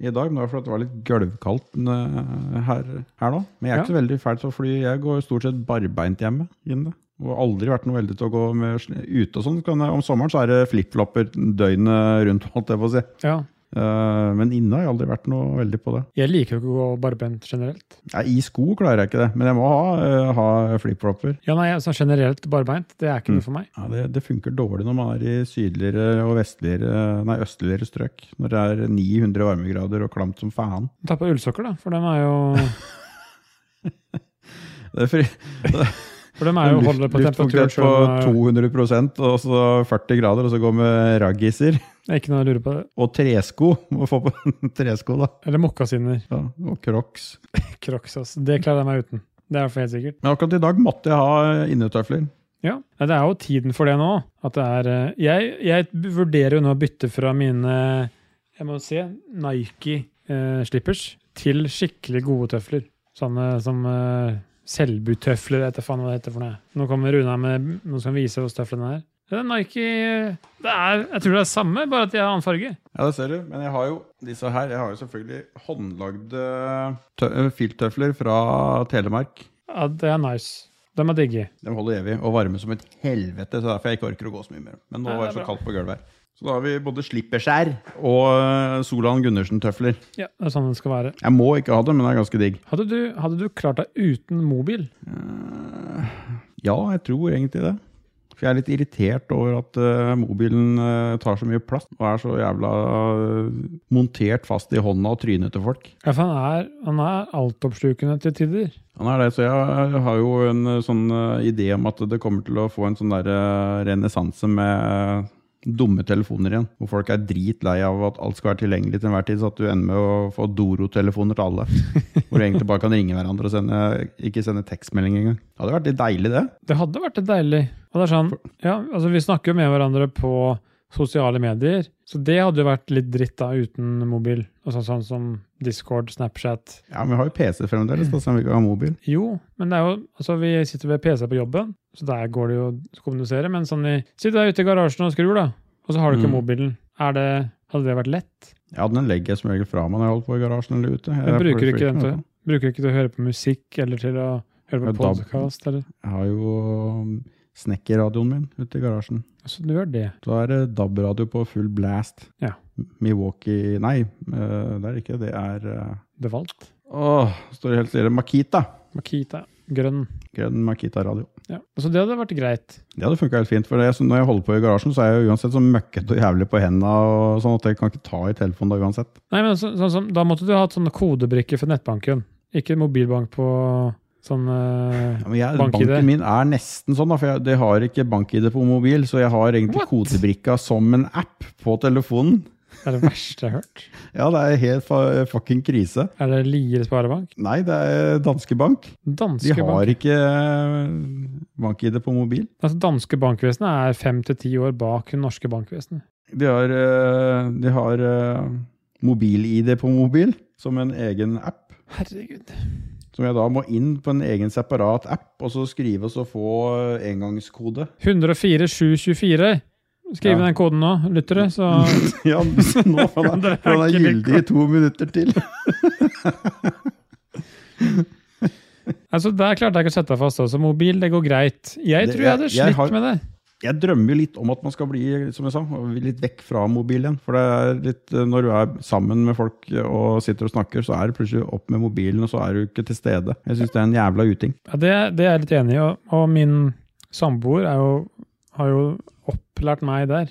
i dag. Men det var fordi det var litt gulvkaldt eh, her, her nå. Men jeg er ikke så veldig fæl til å fly. Jeg går stort sett barbeint hjemme. Inne. Og har aldri vært noe veldig til å gå med sl- ute og sånn. Kan jeg- Om sommeren så er det flipflopper døgnet rundt, holdt jeg på å si.
Ja.
Eh, men inne har jeg aldri vært noe veldig på det.
Jeg liker jo ikke å gå barbent generelt.
Nei, I sko klarer jeg ikke det, men jeg må ha, uh, ha flipflopper.
Ja, nei, altså generelt barbeint, det
Mm.
er ikke noe for meg.
Ja, det, det funker dårlig når man er i sydligere og vestligere, nei, østligere strøk. Når det er 900 varmegrader og klamt som faen.
Ta på ullsokker, da, for dem er jo,
Det er fri,
for dem er jo
luft-
holder på temperaturen
luftfuktighet på
sjøl.
200 og så 40 grader, og så gå med raggiser.
Ikke noe å lure på det.
Og tresko. Må få på tresko, da.
Eller mokkasiner.
Ja, og crocs.
Crocs, ass. Det klarer jeg meg uten. Det er for helt sikkert.
Men akkurat i dag måtte jeg ha innetøfler.
Ja, Nei, Det er jo tiden for det nå. At det er, eh, jeg, jeg vurderer jo nå å bytte fra mine jeg må se, Nike-slippers til skikkelig gode tøfler. Sånne som eh, Selbu-tøfler, vet jeg faen hva det heter for noe. Nå kommer Runa med noen som viser oss tøflene her. Det er Nike eh, det er, Jeg tror det er samme, bare at de har annen farge.
Ja, det ser du. Men jeg har jo disse her. Jeg har jo selvfølgelig håndlagde tø- filttøfler fra Telemark.
Ja, Det er nice. De er digge.
De holder evig og varme som et helvete, så derfor jeg ikke orker å gå så mye mer. Men nå
Nei, det
var det
er
så
bra.
kaldt på gulvet her. Så da har vi både slipperskjær og eh, Solan Gundersen-tøfler.
Ja, det er sånn det skal være.
Jeg må ikke ha dem, men det er ganske digg.
Hadde du, hadde du klart deg uten mobil?
Ja, jeg tror egentlig det. For jeg er litt irritert over at eh, mobilen eh, tar så mye plass og er så jævla eh, montert fast i hånda og trynet til folk.
Ja, for han er, han er altoppslukende til tider.
Han er det, så jeg har jo en eh, sånn eh, idé om at det kommer til å få en sånn der eh, renessanse med eh, dumme telefoner igjen. Hvor folk er dritlei av at alt skal være tilgjengelig til enhver tid, så at du ender med å få Doro-telefoner til alle. Hvor du egentlig bare kan ringe hverandre og sende, ikke sende tekstmelding engang. Det hadde vært litt deilig, det.
Det hadde vært deilig. Og det er sånn, ja, altså Vi snakker jo med hverandre på sosiale medier, så det hadde jo vært litt dritt da uten mobil. Og sånn, sånn som Discord, Snapchat.
Ja, Men vi har jo PC fremdeles, da, så vi kan ha mobil.
Jo, men det er jo, altså vi sitter ved PC på jobben, så der går det jo å kommunisere. Men sånn vi sitter der ute i garasjen og skrur, da, og så har du ikke
Mm.
mobilen. Er det, hadde det vært lett?
Ja, den legger jeg som regel fra meg når jeg holder på i garasjen eller ute.
Men
Jeg
bruker
får
du ikke den
noe
til,
på.
bruker du ikke til å høre på musikk eller til å høre på
Ja, da-
podkast?
Jeg har jo um, snekkerradioen min ute i garasjen.
Så Altså, du gjør det.
Da er det DAB-radio på full blast.
Ja.
Milwaukee Nei, eh, det er det ikke. Det er eh,
Det valgt.
Åh, står helt stille. Makita.
Makita. Grønn.
Grønn Makita-radio.
Ja. Så det hadde vært greit.
Det hadde funka helt fint. for det, så Når jeg holder på i garasjen, så er jeg jo uansett så møkkete og jævlig på hendene, og sånn at jeg kan ikke ta i telefonen da uansett.
Nei, men så, sånn som, Da måtte du ha hatt sånne kodebrikker for nettbanken. Ikke mobilbank på sånn eh,
Ja, men jeg,
BankID.
banken min er nesten sånn, da, for jeg det har ikke bank-ID på mobil, så jeg har egentlig
What?
kodebrikka som en app på telefonen.
Det er det verste jeg har hørt.
Ja, det er helt fa fucking krise.
Er det Lier sparebank?
Nei, det er Danske Bank. De
Danske
har
bank.
ikke eh, bank-ID på mobil.
Altså, danske bankvesenet er fem til ti år bak det norske bankvesenet.
De har, eh, de har eh, mobil-ID på mobil som en egen app.
Herregud.
Som jeg da må inn på en egen separat app, og så skrive og så få eh, engangskode.
104 724. Skriv inn
Ja.
den koden nå, lyttere, så
ja, nå for den,
Det er
for den er
ikke
gyldig i to minutter til.
Altså, Der klarte jeg ikke å sette deg fast. altså. Mobil, det går greit. Jeg
Det-
tror jeg hadde
jeg- jeg
slitt
har-
med det.
Jeg drømmer jo litt om at man skal bli som jeg sa, litt vekk fra mobilen. For det er litt, eh, når du er sammen med folk eh, og sitter og snakker, så er det plutselig opp med mobilen, og så er du ikke til stede. Jeg syns det er en jævla uting.
Ja, det, det er jeg litt enig i, og, og min samboer er jo, har jo opplært meg der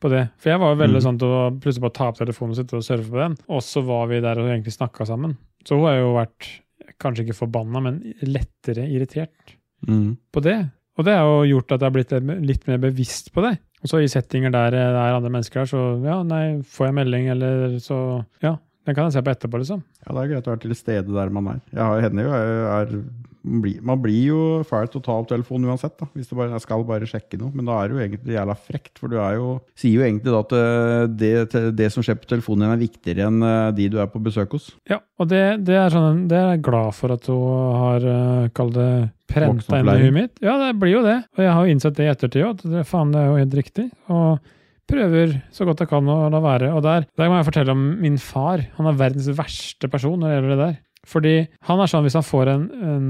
på det. For jeg var jo veldig
Mhm.
sånn til å plutselig bare ta opp telefonen og sitte og surfe på den, og så var vi der og egentlig snakka sammen. Så hun har jo vært, kanskje ikke forbanna, men lettere irritert
Mm.
på det. Og det har jo gjort at jeg har blitt litt mer bevisst på det. Og så i settinger der det er andre mennesker der, så ja, nei, får jeg melding, eller så Ja, den kan jeg se på etterpå, liksom.
Ja, det er greit å være til stede der man er. Jeg har henne jo, jeg er, man, blir, man blir jo fæl til å ta opp telefonen uansett, da, hvis du bare jeg skal bare sjekke noe. Men da er det jo egentlig jævla frekt, for du er jo, sier jo egentlig da at eh, det, te- det som skjer på telefonen din, er viktigere enn eh, de du er på besøk hos.
Ja, og det, det er sånn, det er jeg glad for at hun har eh, kall det prenta inn i
Voksenopplæring.
huet mitt. Ja, det blir jo det. Og jeg har jo innsett det i ettertid òg, at det, faen, det er jo helt riktig. Og prøver så godt jeg kan å la være. Og der, der må jeg fortelle om min far. Han er verdens verste person når det gjelder det der. Fordi han er sånn, hvis han får en,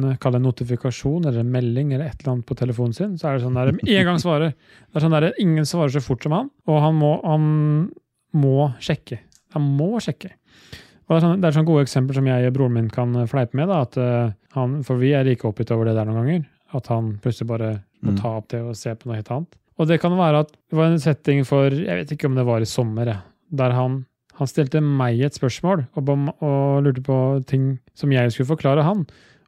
en kall det en notifikasjon eller en melding eller et eller annet på telefonen sin, så er det sånn der med en gang svarer. Det er sånn der, ingen svarer så fort som han, og han må, han må sjekke. Han må sjekke. Og det, er sånne, det er sånne gode eksempler som jeg og broren min kan eh, fleipe med. Da, at, eh, han, for vi er like oppgitt over det der noen ganger. At han plutselig bare må
Mm.
ta opp det og se på noe helt annet. Og det kan være at det var en setting for Jeg vet ikke om det var i sommer, jeg, der han, han stilte meg et spørsmål og, ba, og lurte på ting som jeg skulle forklare han.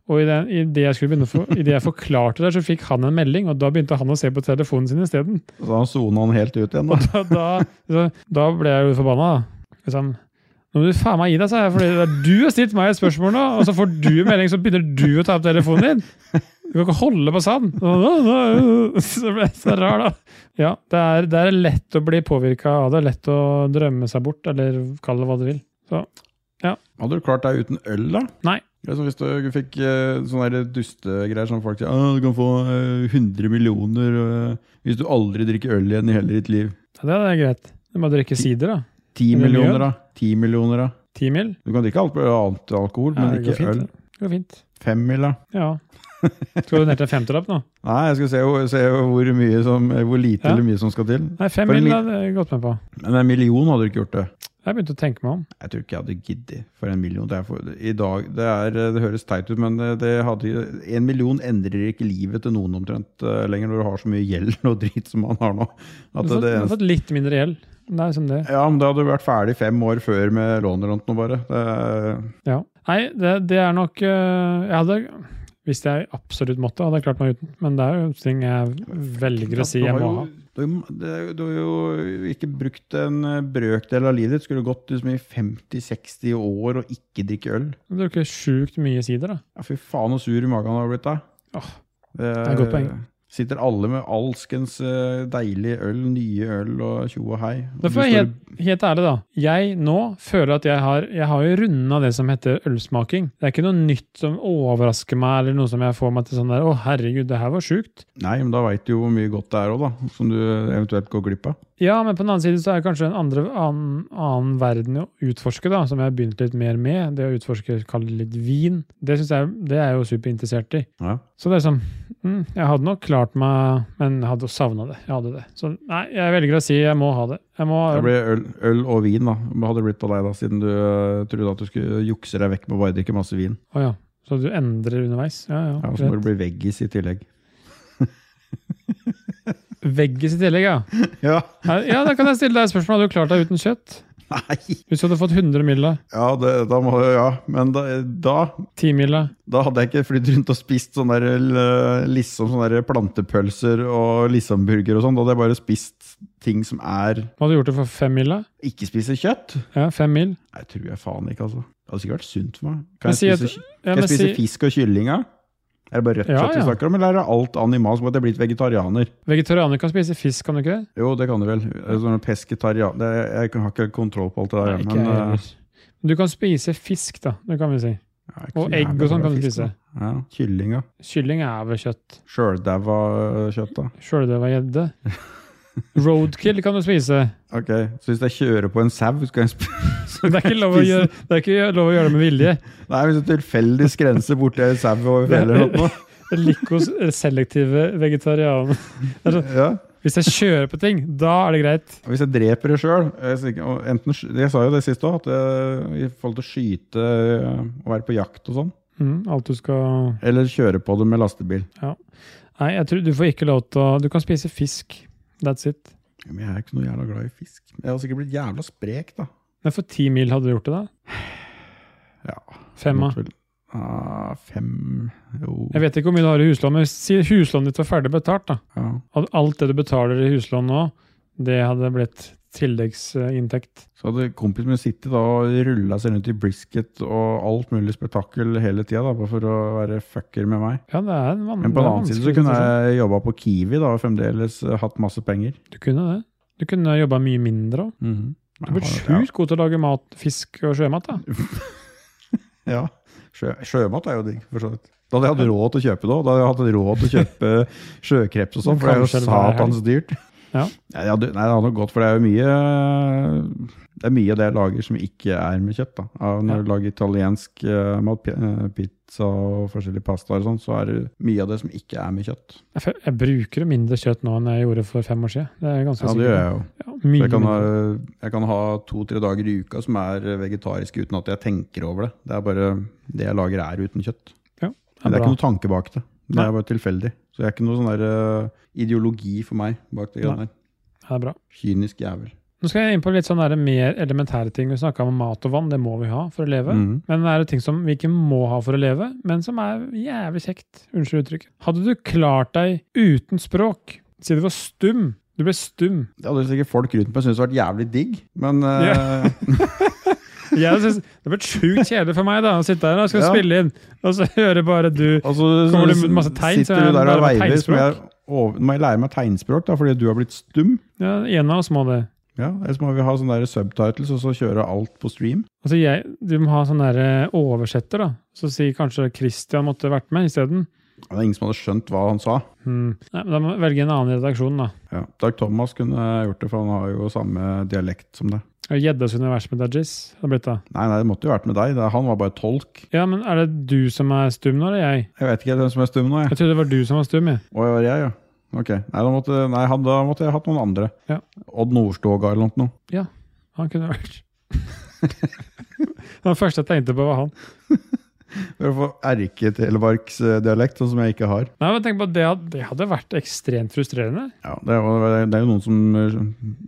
Og i det, i det jeg skulle begynne å for, i det jeg forklarte det, så fikk han en melding, og da begynte han å se på telefonen sin isteden.
Så da sona han helt ut igjen, da.
Da, da, så, da ble jeg jo forbanna. da. Liksom, nå må du faen meg gi deg, sa jeg. For det er du har stilt meg et spørsmål nå, og så får du en melding, så begynner du å ta opp telefonen din. Du kan ikke holde på sånn. Så ble jeg så rar, da. Ja, det er, det er lett å bli påvirka av det. Lett å drømme seg bort, eller kall det hva du vil.
Hadde du klart deg uten øl, da?
Nei.
Det er som hvis du fikk eh, sånne der dustegreier som folk sier «Ah, du kan få eh, 100 millioner eh, hvis du aldri drikker øl igjen i hele ditt liv.
Ja, det er greit. Du må drikke sider, da.
10
Men
millioner, da. 10 millioner, da.
Ti mil?
Du kan drikke alt annet alkohol,
Ja,
men
det går
ikke øl.
fint. Det går fint.
Femmila.
Ja. Skal du ned til en femtilapp nå?
Nei, jeg skal se, hvor- se hvor, mye som, hvor lite
Ja.
eller mye som skal til.
Nei, fem
For en
mil
mil-
hadde jeg gått med på.
Men en million hadde du ikke gjort det.
Jeg begynte å tenke meg om.
Jeg tror ikke jeg hadde giddet for en million. Det, er for, i dag, det, er, det høres teit ut, men det hadde, en million endrer ikke livet til noen omtrent eh, lenger når du har så mye gjeld og drit som man har nå. At
Du har fått-
det,
du har fått litt mindre gjeld. Det er liksom det.
ja, men da hadde du vært ferdig fem år før med lån eller noe bare. Det,
Ja. Nei, det, det er nok øh, Jeg hadde Hvis jeg absolutt måtte, hadde jeg klart meg uten. Men det er jo ting jeg velger å si
Du
jeg
har
må
jo-
ha.
Du, har jo- det er jo- du har jo ikke brukt en eh, brøkdel av livet ditt. Skulle gått liksom, i 50-60 år og ikke drikke øl.
Du bruker sjukt mye sider, da.
Ja, fy faen så sur i magen han har blitt da.
Åh, det er et godt poeng.
Sitter alle med alskens eh, deilig øl, nye øl og tjo og hei. Og
Da
du
får jeg
står-
helt, helt ærlig, da. Jeg nå føler at jeg har Jeg har jo runda det som heter ølsmaking. Det er ikke noe nytt som overrasker meg, eller noe som jeg får meg til sånn der Å, herregud, det her var sjukt.
Nei, men da veit du jo hvor mye godt det er òg, da. Som du eventuelt går glipp av.
Ja, men på den annen side så er kanskje en andre, annen, annen verden å utforske, da, som jeg har begynt litt mer med. Det å utforske, kalle det litt vin. Det synes jeg Det er jeg jo superinteressert i.
Ja.
Så det er sånn mm, Jeg hadde nok klart meg, men jeg hadde savna det. Jeg hadde det. Så nei, jeg velger å si jeg må ha det. Jeg må ha øl.
Det ble øl, øl og vin, da. Hva hadde det blitt på deg, da, siden du eh, trodde at du skulle jukse deg vekk med å bare drikke masse vin?
Å ja. Så du endrer underveis? Ja, ja.
Ja, og så
greit.
må det bli veggis i tillegg.
Veggis i tillegg, ja.
Ja,
Her- Ja, Da kan jeg stille deg et spørsmål. Hadde du klart deg uten kjøtt?
nei!
Hvis du hadde fått 100 milla,
Ja, det, da må ja. Men da, da,
10 milla
da hadde jeg ikke flydd rundt og spist sånne der, eh, liksom sånne der plantepølser og lissamburger og sånn. Da hadde jeg bare spist ting som er
Hva hadde du gjort det for 5 milla?
Ikke spise kjøtt?
Ja, 5 mil.
Nei, tror jeg faen ikke, altså. Det hadde sikkert vært sunt for meg.
Men
Kan jeg
si at-
spise, kj-
Ja,
kan jeg spise
si
fisk og kylling, ja? Er det bare rødt
Ja,
kjøtt vi
ja.
snakker om, eller er det alt animalsk? At jeg er blitt vegetarianer?
Vegetarianer kan spise fisk, kan du ikke det?
Jo, det kan du vel. Sånn pesketarian det, Jeg har ikke kontroll på alt det der.
Nei, ikke
men,
jeg
eh,
heller. Du kan spise fisk, da. Det kan vi si.
jeg er ikke
Og
så
egg
jævlig
og sånn
glad i
kan du
fisk,
spise.
da. Ja, Kylling, ja.
Kylling er vel kjøtt.
Sjøldaua eh, kjøtt, da.
Sjøldøva gjedde. Roadkill kan du spise.
Ok, Så hvis jeg kjører på en sau skal jeg sp-
Det er ikke lov å gjøre det, er ikke lov å gjøre det med vilje.
Nei, hvis jeg tilfeldig skrenser borti en sau over fjellet eller noe.
Likos selektive vegetarianer.
Ja.
Hvis jeg kjører på ting, da er det greit.
Og Hvis jeg dreper det eh, sjøl Jeg sa jo det sist òg, at eh, i forhold til å skyte eh, og være på jakt og sånn.
Mm, alt du skal
Eller kjøre på det med lastebil.
Nei, jeg tror du får ikke lov til å Du kan spise fisk. That's it.
Ja, Men jeg er ikke noe jævla glad i fisk. Jeg har sikkert blitt jævla sprek, da.
Men for ti mil hadde du gjort det, da?
Ja.
Femma.
Måtte vel- Ah, fem Jo.
Jeg vet ikke hvor mye du har i huslån, men si huslånet ditt var ferdig betalt, da.
Ja.
Og alt det du betaler i huslån nå, det hadde blitt tilleggsinntekt.
Så hadde kompisen min sittet da og rulla seg rundt i brisket og alt mulig spetakkel hele tida bare for å være fucker med meg.
Ja, det er en van-
Men
det er
på den
en
annen side så
vanskelig
kunne
situasjon.
jeg jobba på Kiwi da og fremdeles eh, hatt masse penger.
Du kunne det. Du kunne jobba mye mindre òg. Du ble Mhm. sjukt god til å lage mat, fisk og sjømat, da.
Ja. Sjø, sjømat er jo digg, for så vidt. Da hadde jeg hatt råd til å kjøpe det òg. Da hadde jeg hatt råd til å kjøpe sjøkreps og sånn, for det er jo
Kanskje det var
satans dyrt.
Ja.
Nei, det hadde- nei, det hadde nok gått, for det er jo mye Det er mye av det jeg lager som ikke er med kjøtt. da. Av Når du lager italiensk eh, mat, pi- eh, pizza og forskjellige pastaer og sånn, så er det mye av det som ikke er med kjøtt.
Jeg, fø- jeg bruker jo mindre kjøtt nå enn jeg gjorde for fem år siden. Det er ganske
Ja, det gjør jeg jo.
Ja,
Så
mye
Jeg kan, ha,
mindre.
jeg kan ha to-tre dager i uka som er vegetariske uten at jeg tenker over det. Det er bare det jeg lager er uten kjøtt.
Ja,
det er
bra.
ikke noe tanke bak det. Det
Nei.
er bare tilfeldig. Så det er ikke noe sånn der eh, ideologi for meg bak det
Nei.
greiene der.
Ja, det er bra.
Kynisk jævel.
Nå skal jeg inn på litt sånn der mer elementære ting. Vi snakka om mat og vann, det må vi ha for å leve.
Mhm.
Men det er jo ting som vi ikke må ha for å leve, men som er jævlig kjekt. Unnskyld uttrykket. Hadde du klart deg uten språk? Si du var stum. Du ble stum.
Det hadde sikkert folk rundt meg syntes vært jævlig digg, men eh,
Jeg synes, det ble sjukt kjedelig for meg da, å sitte her og skal
Ja.
spille inn, og så hører bare du
og så
Altså, Kommer det masse tegn, så
sitter
er
du
det
der
bare
og veiver. så må jeg
tegnspråk?
over- Nå må jeg lære meg tegnspråk, da, fordi du har blitt stum.
ja, En av oss må det.
Ja, Ellers må vi ha sånne der subtitles og så kjøre alt på stream.
Altså jeg, Du må ha sånn der eh, oversetter, da. Så sier kanskje Christian måtte vært med isteden.
Det er ingen som hadde skjønt hva han sa.
Hmm. Nei, men Da må vi velge en annen redaksjon, da.
Ja, Dag Thomas kunne gjort det, for han har jo samme dialekt som deg.
Og Gjeddas univers med Dajis. Det blitt da.
Nei, nei, det måtte jo vært med deg. Det- Han var bare tolk.
Ja, men er det du som er stum nå, eller jeg?
Jeg vet ikke hvem som er stum nå, jeg.
Jeg trodde det var du som var stum, jeg.
Å, det var jeg, ja. Ok. Nei, da måtte, nei, han, da måtte jeg hatt noen andre.
Ja.
Odd Nordstoga eller noe.
Han kunne vært Den første jeg tenkte på, var han.
For å få erketelemarksdialekt, sånn som jeg ikke har.
Nei, men tenk på at det, had- det hadde vært ekstremt frustrerende.
Ja, det, er, jo- det er jo noen som eh,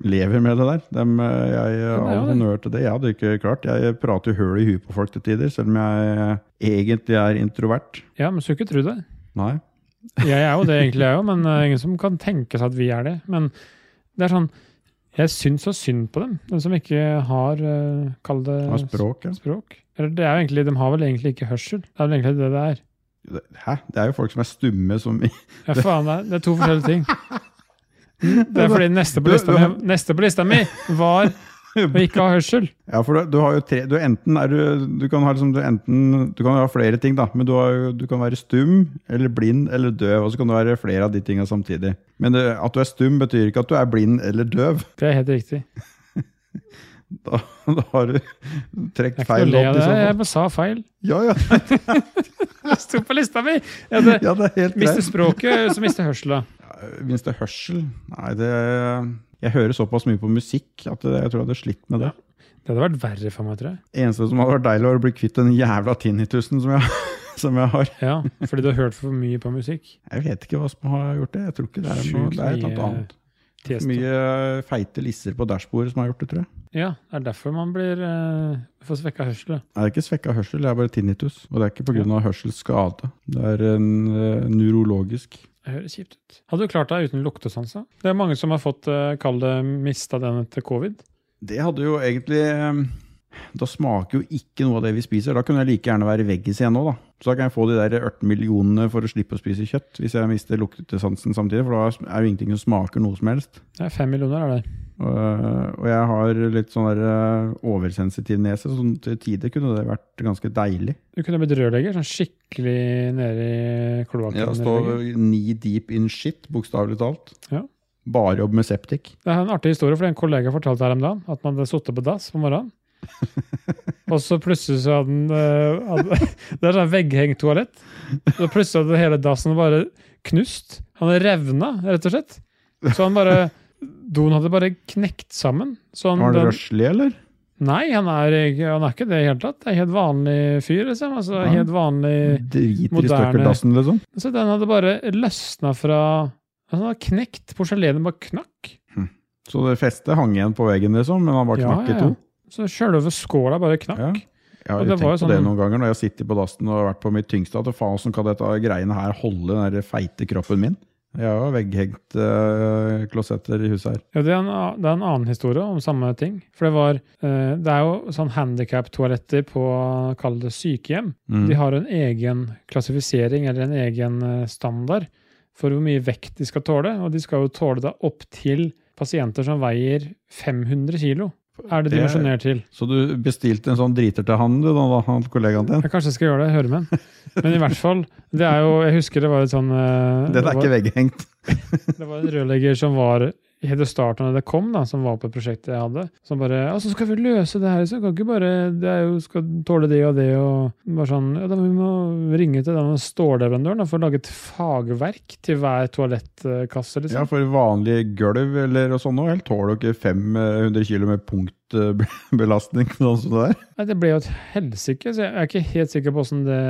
lever med det der. Dem, eh, jeg eh,
Ja, det er
All
jo det.
honnør til det. Jeg hadde ikke klart. Jeg prater jo høl i huet på folk til tider, selv om jeg eh, egentlig er introvert.
Ja, men skulle ikke tro det.
Nei.
Jeg er jo det egentlig, jeg òg, men det er ingen som kan tenke seg at vi er det. Men det er sånn Jeg syns så synd på dem, de som ikke har eh, Kall det
Av språk, ja.
språk. Eller det er jo egentlig, de har vel egentlig ikke hørsel. Det er vel egentlig det det er.
Hæ? Det er jo folk som er stumme som
Ja, faen, det er, det er to forskjellige ting. Det er fordi neste på lista mi, neste på lista mi var å ikke ha hørsel.
Ja, for du, du har jo tre du, enten er du, du, kan ha liksom, du, enten, du kan ha flere ting, da, men du, har, jo- du kan være stum eller blind eller døv. Og så kan du være flere av de tinga samtidig. Men det, at du er stum, betyr ikke at du er blind eller døv.
Det er helt riktig.
Da, da har du trukket
Jeg er ikke
feil
noe å le
lodd.
av
i
det,
så
jeg
fall.
bare sa feil.
Ja, ja,
Det sto på lista mi! Ja, det,
ja, det er helt
mister
greit.
språket, så mister hørselen.
Minst det er hørsel. Nei, det Jeg hører såpass mye på musikk at jeg tror jeg hadde slitt med det.
Det hadde vært verre for meg, tror jeg.
Eneste som hadde vært deilig, var å bli kvitt den jævla tinnitusen som jeg, som jeg har.
Ja, fordi du har hørt for mye på musikk.
Jeg vet ikke hva som har gjort det. Jeg tror ikke det er noe
Sjukt
Det er et eller annet
mye-
annet.
Tiesto.
Mye feite lisser på dashbordet som har gjort det, tror jeg.
Ja, det er derfor man blir eh, får svekka hørsel.
Nei, Det er ikke svekka hørsel, det er bare tinnitus. Og det er ikke pga. hørselsskade. Det er en eh, neurologisk
Det høres kjipt ut. Hadde du klart deg uten luktesans? da? Det er mange som har fått uh, kall det mista den etter covid.
Det hadde jo egentlig eh, Da smaker jo ikke noe av det vi spiser. Da kunne jeg like gjerne være veggis igjen nå, da. Så da kan jeg få de der 18 millionene for å slippe å spise kjøtt. Hvis jeg mister luktesansen samtidig, for da er jo ingenting som smaker noe som helst.
Det er fem millioner, er det.
Og, eh, og jeg har litt sånn der eh, oversensitiv nese, så sånn til tider kunne det vært ganske deilig.
Du kunne blitt rørlegger, sånn skikkelig nede i kloakken.
Ja, stå
rørlegger.
knee deep in shit, bokstavelig talt.
Ja.
Bare jobb med septik.
Det er en artig historie, for en kollega fortalte her om dagen at man hadde sittet på dass på morgenen. Og så plutselig så hadde den eh, hadde, Det er sånn vegghengt toalett. Så plutselig hadde hele dassen bare knust. Han hadde revna, rett og slett. Så han bare Doen hadde bare knekt sammen. Så han,
Var det
den-
røslig, eller?
Nei, han er, ikke- han er ikke det i det hele tatt. Det er helt vanlig fyr, liksom. Altså,
Ja.
helt vanlig
Driter i
moderne-
støkkeldassen, liksom?
Så den hadde bare løsna fra altså, Den hadde knekt. Porselenet bare knakk.
Så det festet hang igjen på veggen, liksom, men han bare
Ja,
knakk i
ja,
to.
ja. Så sjølve skåla bare
Ja.
knakk.
Jeg har
Og det
tenkt
var
på
jo
det
sånn-
noen ganger når jeg sitter på dassen og har vært på mitt tyngste, at faen, hvordan kan dette greiene her holde den der feite kroppen min? Jeg har jo vegghengt eh, klosetter i huset her.
Ja, det, er en, a- det er en annen historie om samme ting. For det var eh, Det er jo sånn handikap-toaletter på kall det sykehjem.
Mm.
De har en egen klassifisering eller en egen eh, standard for hvor mye vekt de skal tåle. Og de skal jo tåle det opp til pasienter som veier 500 kilo. Er det
Det er-
dimensjonert til?
Så du bestilte en sånn driter til han, du, da, da han kollegaen din?
Jeg kanskje skal gjøre det, høre med den. Men i hvert fall, det er jo Jeg husker det var et sånn eh,
Den
det
er
var-
ikke vegghengt.
Det var en rørlegger som var i hele starten da det kom, da, som var på prosjektet jeg hadde, som bare Ja, så skal vi løse det her, liksom. Kan ikke bare Det er jo Skal tåle det og det, og bare sånn Ja, da må vi må ringe til den stålleverandøren da, for å lage et fagverk til hver toalettkasse,
Ja,
liksom.
for vanlige gulv eller og sånn, og tåler jo ikke 500 kilo med punktbelastning. sånn som det der.
Nei, det ble jo et helsike, så jeg er ikke helt sikker på åssen det,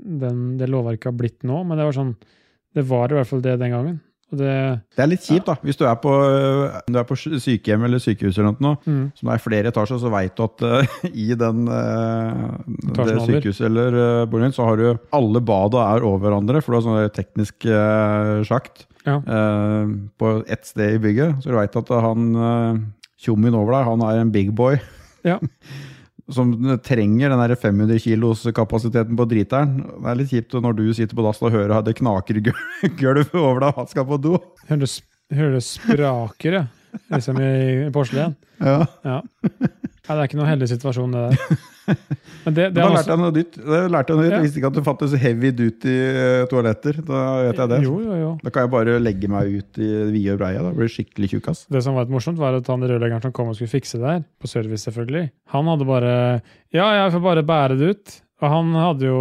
den- det lovverket har blitt nå, men det var sånn Det var i hvert fall det den gangen. Og det
Det er litt kjipt, da. Hvis du er på, øh, du er på sy- sykehjem eller sykehus, eller noe,
mm.
som er flere etasjer, så veit du at øh, i den, øh, det
Etasjen over.
sykehuset eller øh, boligen, så har du alle bada er over hverandre, for du har sånn der teknisk øh, sjakt
Ja.
øh, på ett sted i bygget. Så du veit at han øh, tjommien over deg, han er en big boy.
Ja.
som trenger den der 500 kilos kapasiteten på driteren. Det er litt kjipt når du sitter på dass og hører at det knaker i gul- gulvet over deg, og han skal på do.
Hører du, hører du spraker, ja. Liksom i, i porselen.
Ja.
Ja. Nei, det er ikke noen heldig situasjon, det der. Men det,
Men
det
Da
er
lærte
også,
jeg noe nytt. Da lærte jeg noe nytt.
Ja.
Jeg visste ikke at det fantes heavy duty eh, toaletter. Da vet jeg det.
Jo, jo, jo.
Da kan jeg bare legge meg ut i det vide og breie. Da blir jeg skikkelig tjukkas.
Det som var litt morsomt, var at han rørleggeren som kom og skulle fikse det her, på service selvfølgelig, han hadde bare Ja, jeg får bare bære det ut. Og han hadde jo,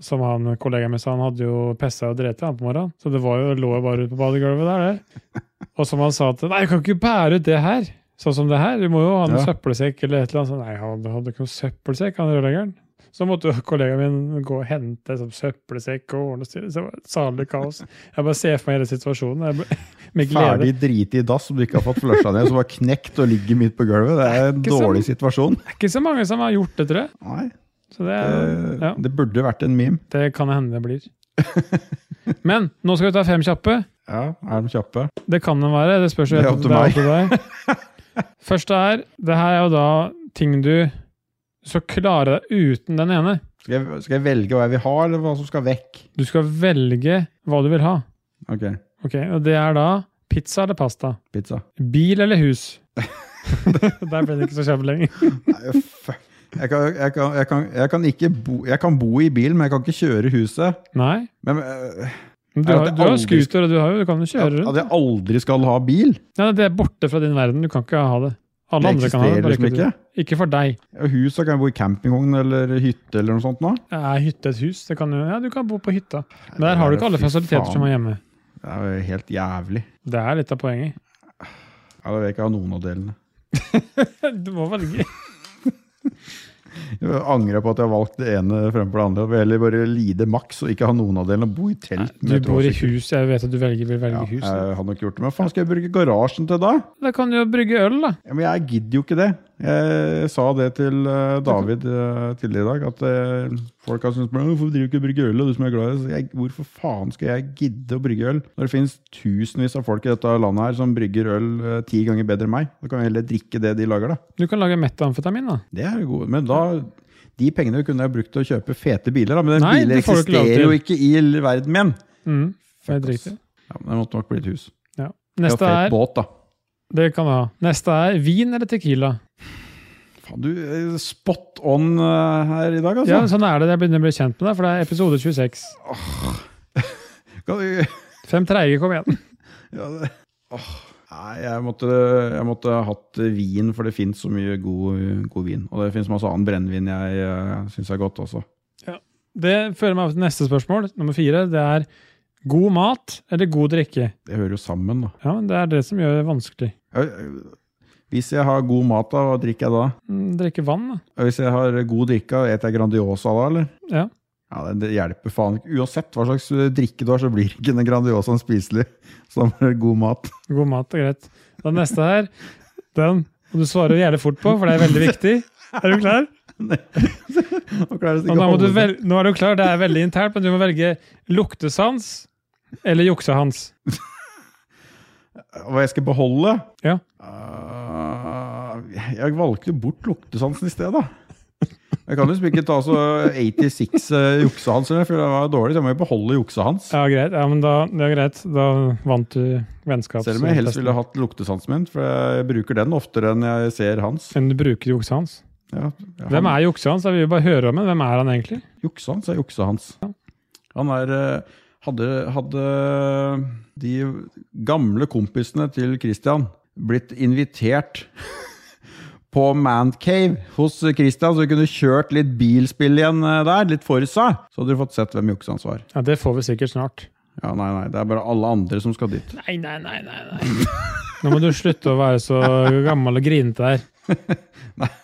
som han kollegaen min sa, han hadde jo pessa og dreti han på morgenen. Så det var jo, lå jo bare ute på badegulvet der, det. Og som han sa til Nei, du kan ikke bære ut det her! Sånn som det her. Du må jo ha en
Ja.
søppelsekk eller et eller annet. Så, nei, han hadde ikke noen søppelsekk, han rørleggeren. Så måtte jo kollegaen min gå og hente en sånn søppelsekk og ordne styr. Så det var et salig kaos. Jeg bare ser for meg hele situasjonen. Jeg ble, med glede.
Ferdig driti i dass som du ikke har fått flusha ned, som var knekt og ligger midt på gulvet. Det er
Det
en
er ikke sånn.
dårlig situasjon.
Det er ikke så mange som har gjort det, tror jeg.
Nei,
Så det,
det,
ja,
det burde vært en meme.
det kan hende det blir. Men nå skal vi ta fem kjappe.
Ja, er de kjappe?
Det kan den være. Det spørs jo
Det er
etter-
opp til
det er opp til deg. Første er Det her er jo da ting du skal klare deg uten den ene.
Skal jeg, skal jeg velge hva jeg vil ha, eller hva som skal vekk?
Du skal velge hva du vil ha.
Ok,
Ok, og det er da pizza eller pasta?
pizza.
Bil eller hus? Der ble det ikke så kjapt lenger.
Nei, fuck. Jeg kan, jeg, kan, jeg, kan, jeg, kan ikke bo, jeg kan bo i bilen, men jeg kan ikke kjøre huset.
Nei.
Men øh,
Men du
Nei, at
har,
det
du har
aldri-
scooter, og du, har, jo- du kan jo
at,
kjøre rundt.
at jeg aldri skal ha bil,
Nei, det er borte fra din verden. Du kan ikke ha det. Alle
det
andre kan ha det.
eksisterer
bare
liksom
ikke
ikke.
du. Ikke for deg.
Og Hus, da kan jeg bo i campingvogn eller hytte eller noe sånt nå.
Er hytte et hus? Det kan jo, ja, du kan bo på hytta. Men der har du ikke alle fasiliteter som er hjemme.
Det er jo helt jævlig.
Det er litt av poenget.
Ja, da vil jeg ikke ha noen av delene.
Du må velge.
Jeg angrer på at jeg har valgt det ene fremfor det andre. Jeg vil heller bare lide maks og ikke ha noen av delene og bo i telt.
Du bor i hus. Jeg vet at du velger, vil velge
Ja,
hus.
jeg hadde nok gjort det, men faen skal jeg bruke garasjen til da?
Da kan du jo brygge øl, da.
Ja, men jeg gidder jo ikke det. Jeg sa det til eh, David eh, tidligere i dag, at eh, folk har syntes «Men Hvorfor driver du ikke og brygger øl, og du som er glad i det?» Så jeg, Hvorfor faen skal jeg gidde å brygge øl når det finnes tusenvis av folk i dette landet her som brygger øl eh, ti ganger bedre enn meg? Da kan jeg heller drikke det de lager, da.
Du kan lage metamfetamin, da.
Det er jo god. Men da De pengene kunne jeg brukt til å kjøpe fete biler, da. Men den
Nei,
biler
det får du ikke lov
eksisterer jo
til.
ikke i l- verden min.
Mm,
Fuck,
helt
ass.
riktig.
Ja, men det måtte nok bli et hus.
Ja.
Det er
Neste
fet
er
båt, da.
Det kan du ha. Neste er vin eller tequila.
Faen, du eh, spot on eh, her i dag, altså.
Ja, sånn er det. Jeg begynner å bli kjent med deg, for det er episode 26.
Kan du-
Fem treige, kom igjen.
Ja, det, åh. Nei, jeg måtte, jeg måtte ha hatt vin, for det fins så mye god, god vin. Og det fins masse annen brennevin jeg uh, syns er godt også.
Det fører meg over til neste spørsmål, nummer fire. Det er god mat eller god drikke?
Det hører jo sammen, da.
Ja, men det er det som gjør det vanskelig.
Jeg- jeg- Hvis jeg har god mat, da, hva drikker jeg da?
Mm, Drikke vann, da.
Og Hvis jeg har god drikke, spiser jeg Grandiosa da, eller?
Ja.
Ja, det, det hjelper faen ikke. Uansett hva slags eh, drikke du har, så blir ikke den Grandiosaen spiselig. Så da blir det god mat.
God mat er greit. Den neste her, den må du svare gjerne fort på, for det er veldig viktig. Er du klar?
Og klarer det
Og nå,
ikke å
må du
holde
vel, nå er du klar, det er veldig internt, men du må velge luktesans eller juksehans.
seg. Hva jeg skal beholde?
Ja.
Ah, jeg valgte jo bort luktesansen i sted, da. Jeg kan liksom ikke ta så 86 eh, juksa hans, eller, for det var dårlig. Så jeg må jo beholde juksa hans.
Ja, greit. Ja, men da, det er greit. Da vant du vennskaps...
Selv om jeg helst ville hatt luktesansen min, for jeg bruker den oftere enn jeg ser hans.
Men du bruker juksa hans.
Ja,
Hvem er juksa hans? Jeg vil jo bare høre om ham. Hvem er han egentlig?
Juksa hans er juksa hans. Han er eh, hadde, hadde de gamle kompisene til Christian blitt invitert på Mancave hos Christian, så vi kunne kjørt litt bilspill igjen eh, der, litt Forsa. Så hadde du fått sett hvem juksa hans var.
Ja, Det får vi sikkert snart.
Ja, nei, nei, det er bare alle andre som skal dit.
Nei, nei, nei, nei. nei. Nå må du slutte å være så gammel og grinete her.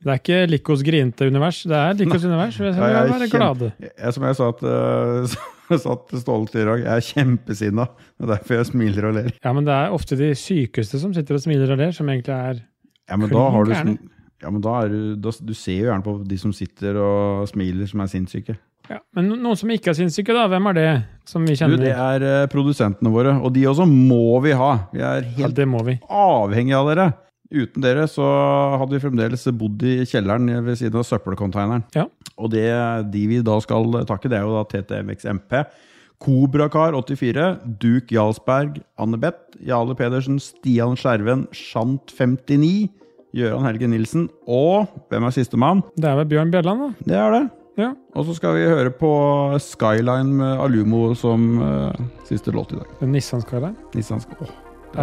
Det er ikke Likos grinete univers. Det er Likos univers. Vi
Ja,
skal være glade.
kjempe- jeg, som jeg sa til, eh, sa til Ståle til i dag, jeg er kjempesinna. Det er derfor jeg smiler og ler.
Ja, men det er ofte de sykeste som sitter og smiler og ler, som egentlig er
Ja, men da har du
Klin
sånn ja, men da er du, da, du ser jo gjerne på de som sitter og smiler, som er sinnssyke.
ja. Men no- noen som ikke er sinnssyke, da. Hvem er det som vi
Du,
kjenner?
det er eh, produsentene våre, og de også må vi ha. Vi er
ja,
helt
det må vi.
avhengige av dere. Uten dere så hadde vi fremdeles bodd i kjelleren ved siden av søppelkonteineren.
Ja.
Og det, de vi da skal takke, det er jo da TTMX MP, Kobrakar84, Duk Jarlsberg, Anne Beth, Jale Pedersen, Stian Skjerven, Shant59, Gøran Helge Nilsen og hvem er sistemann?
Det er vel Bjørn Bjelland, da.
Det er det.
Ja.
Og så skal vi høre på Skyline med Alumo som eh, siste låt i dag.
Den Nissan-skalaen.
Nissan skal... Åh,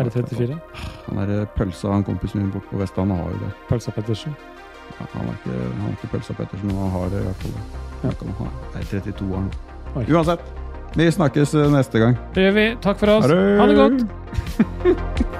det var fett,
R34.
da. Han der pølsa, han kompisen min borte på Vestlandet, har jo det.
Pølsa Pettersen.
Ja, Han er ikke, han er ikke pølsa Pettersen, men han har det i hvert fall. Han kan ha- er 32 år nå.
Oi.
Uansett, vi snakkes eh, neste gang.
Det gjør vi. Takk for oss. Ha det godt.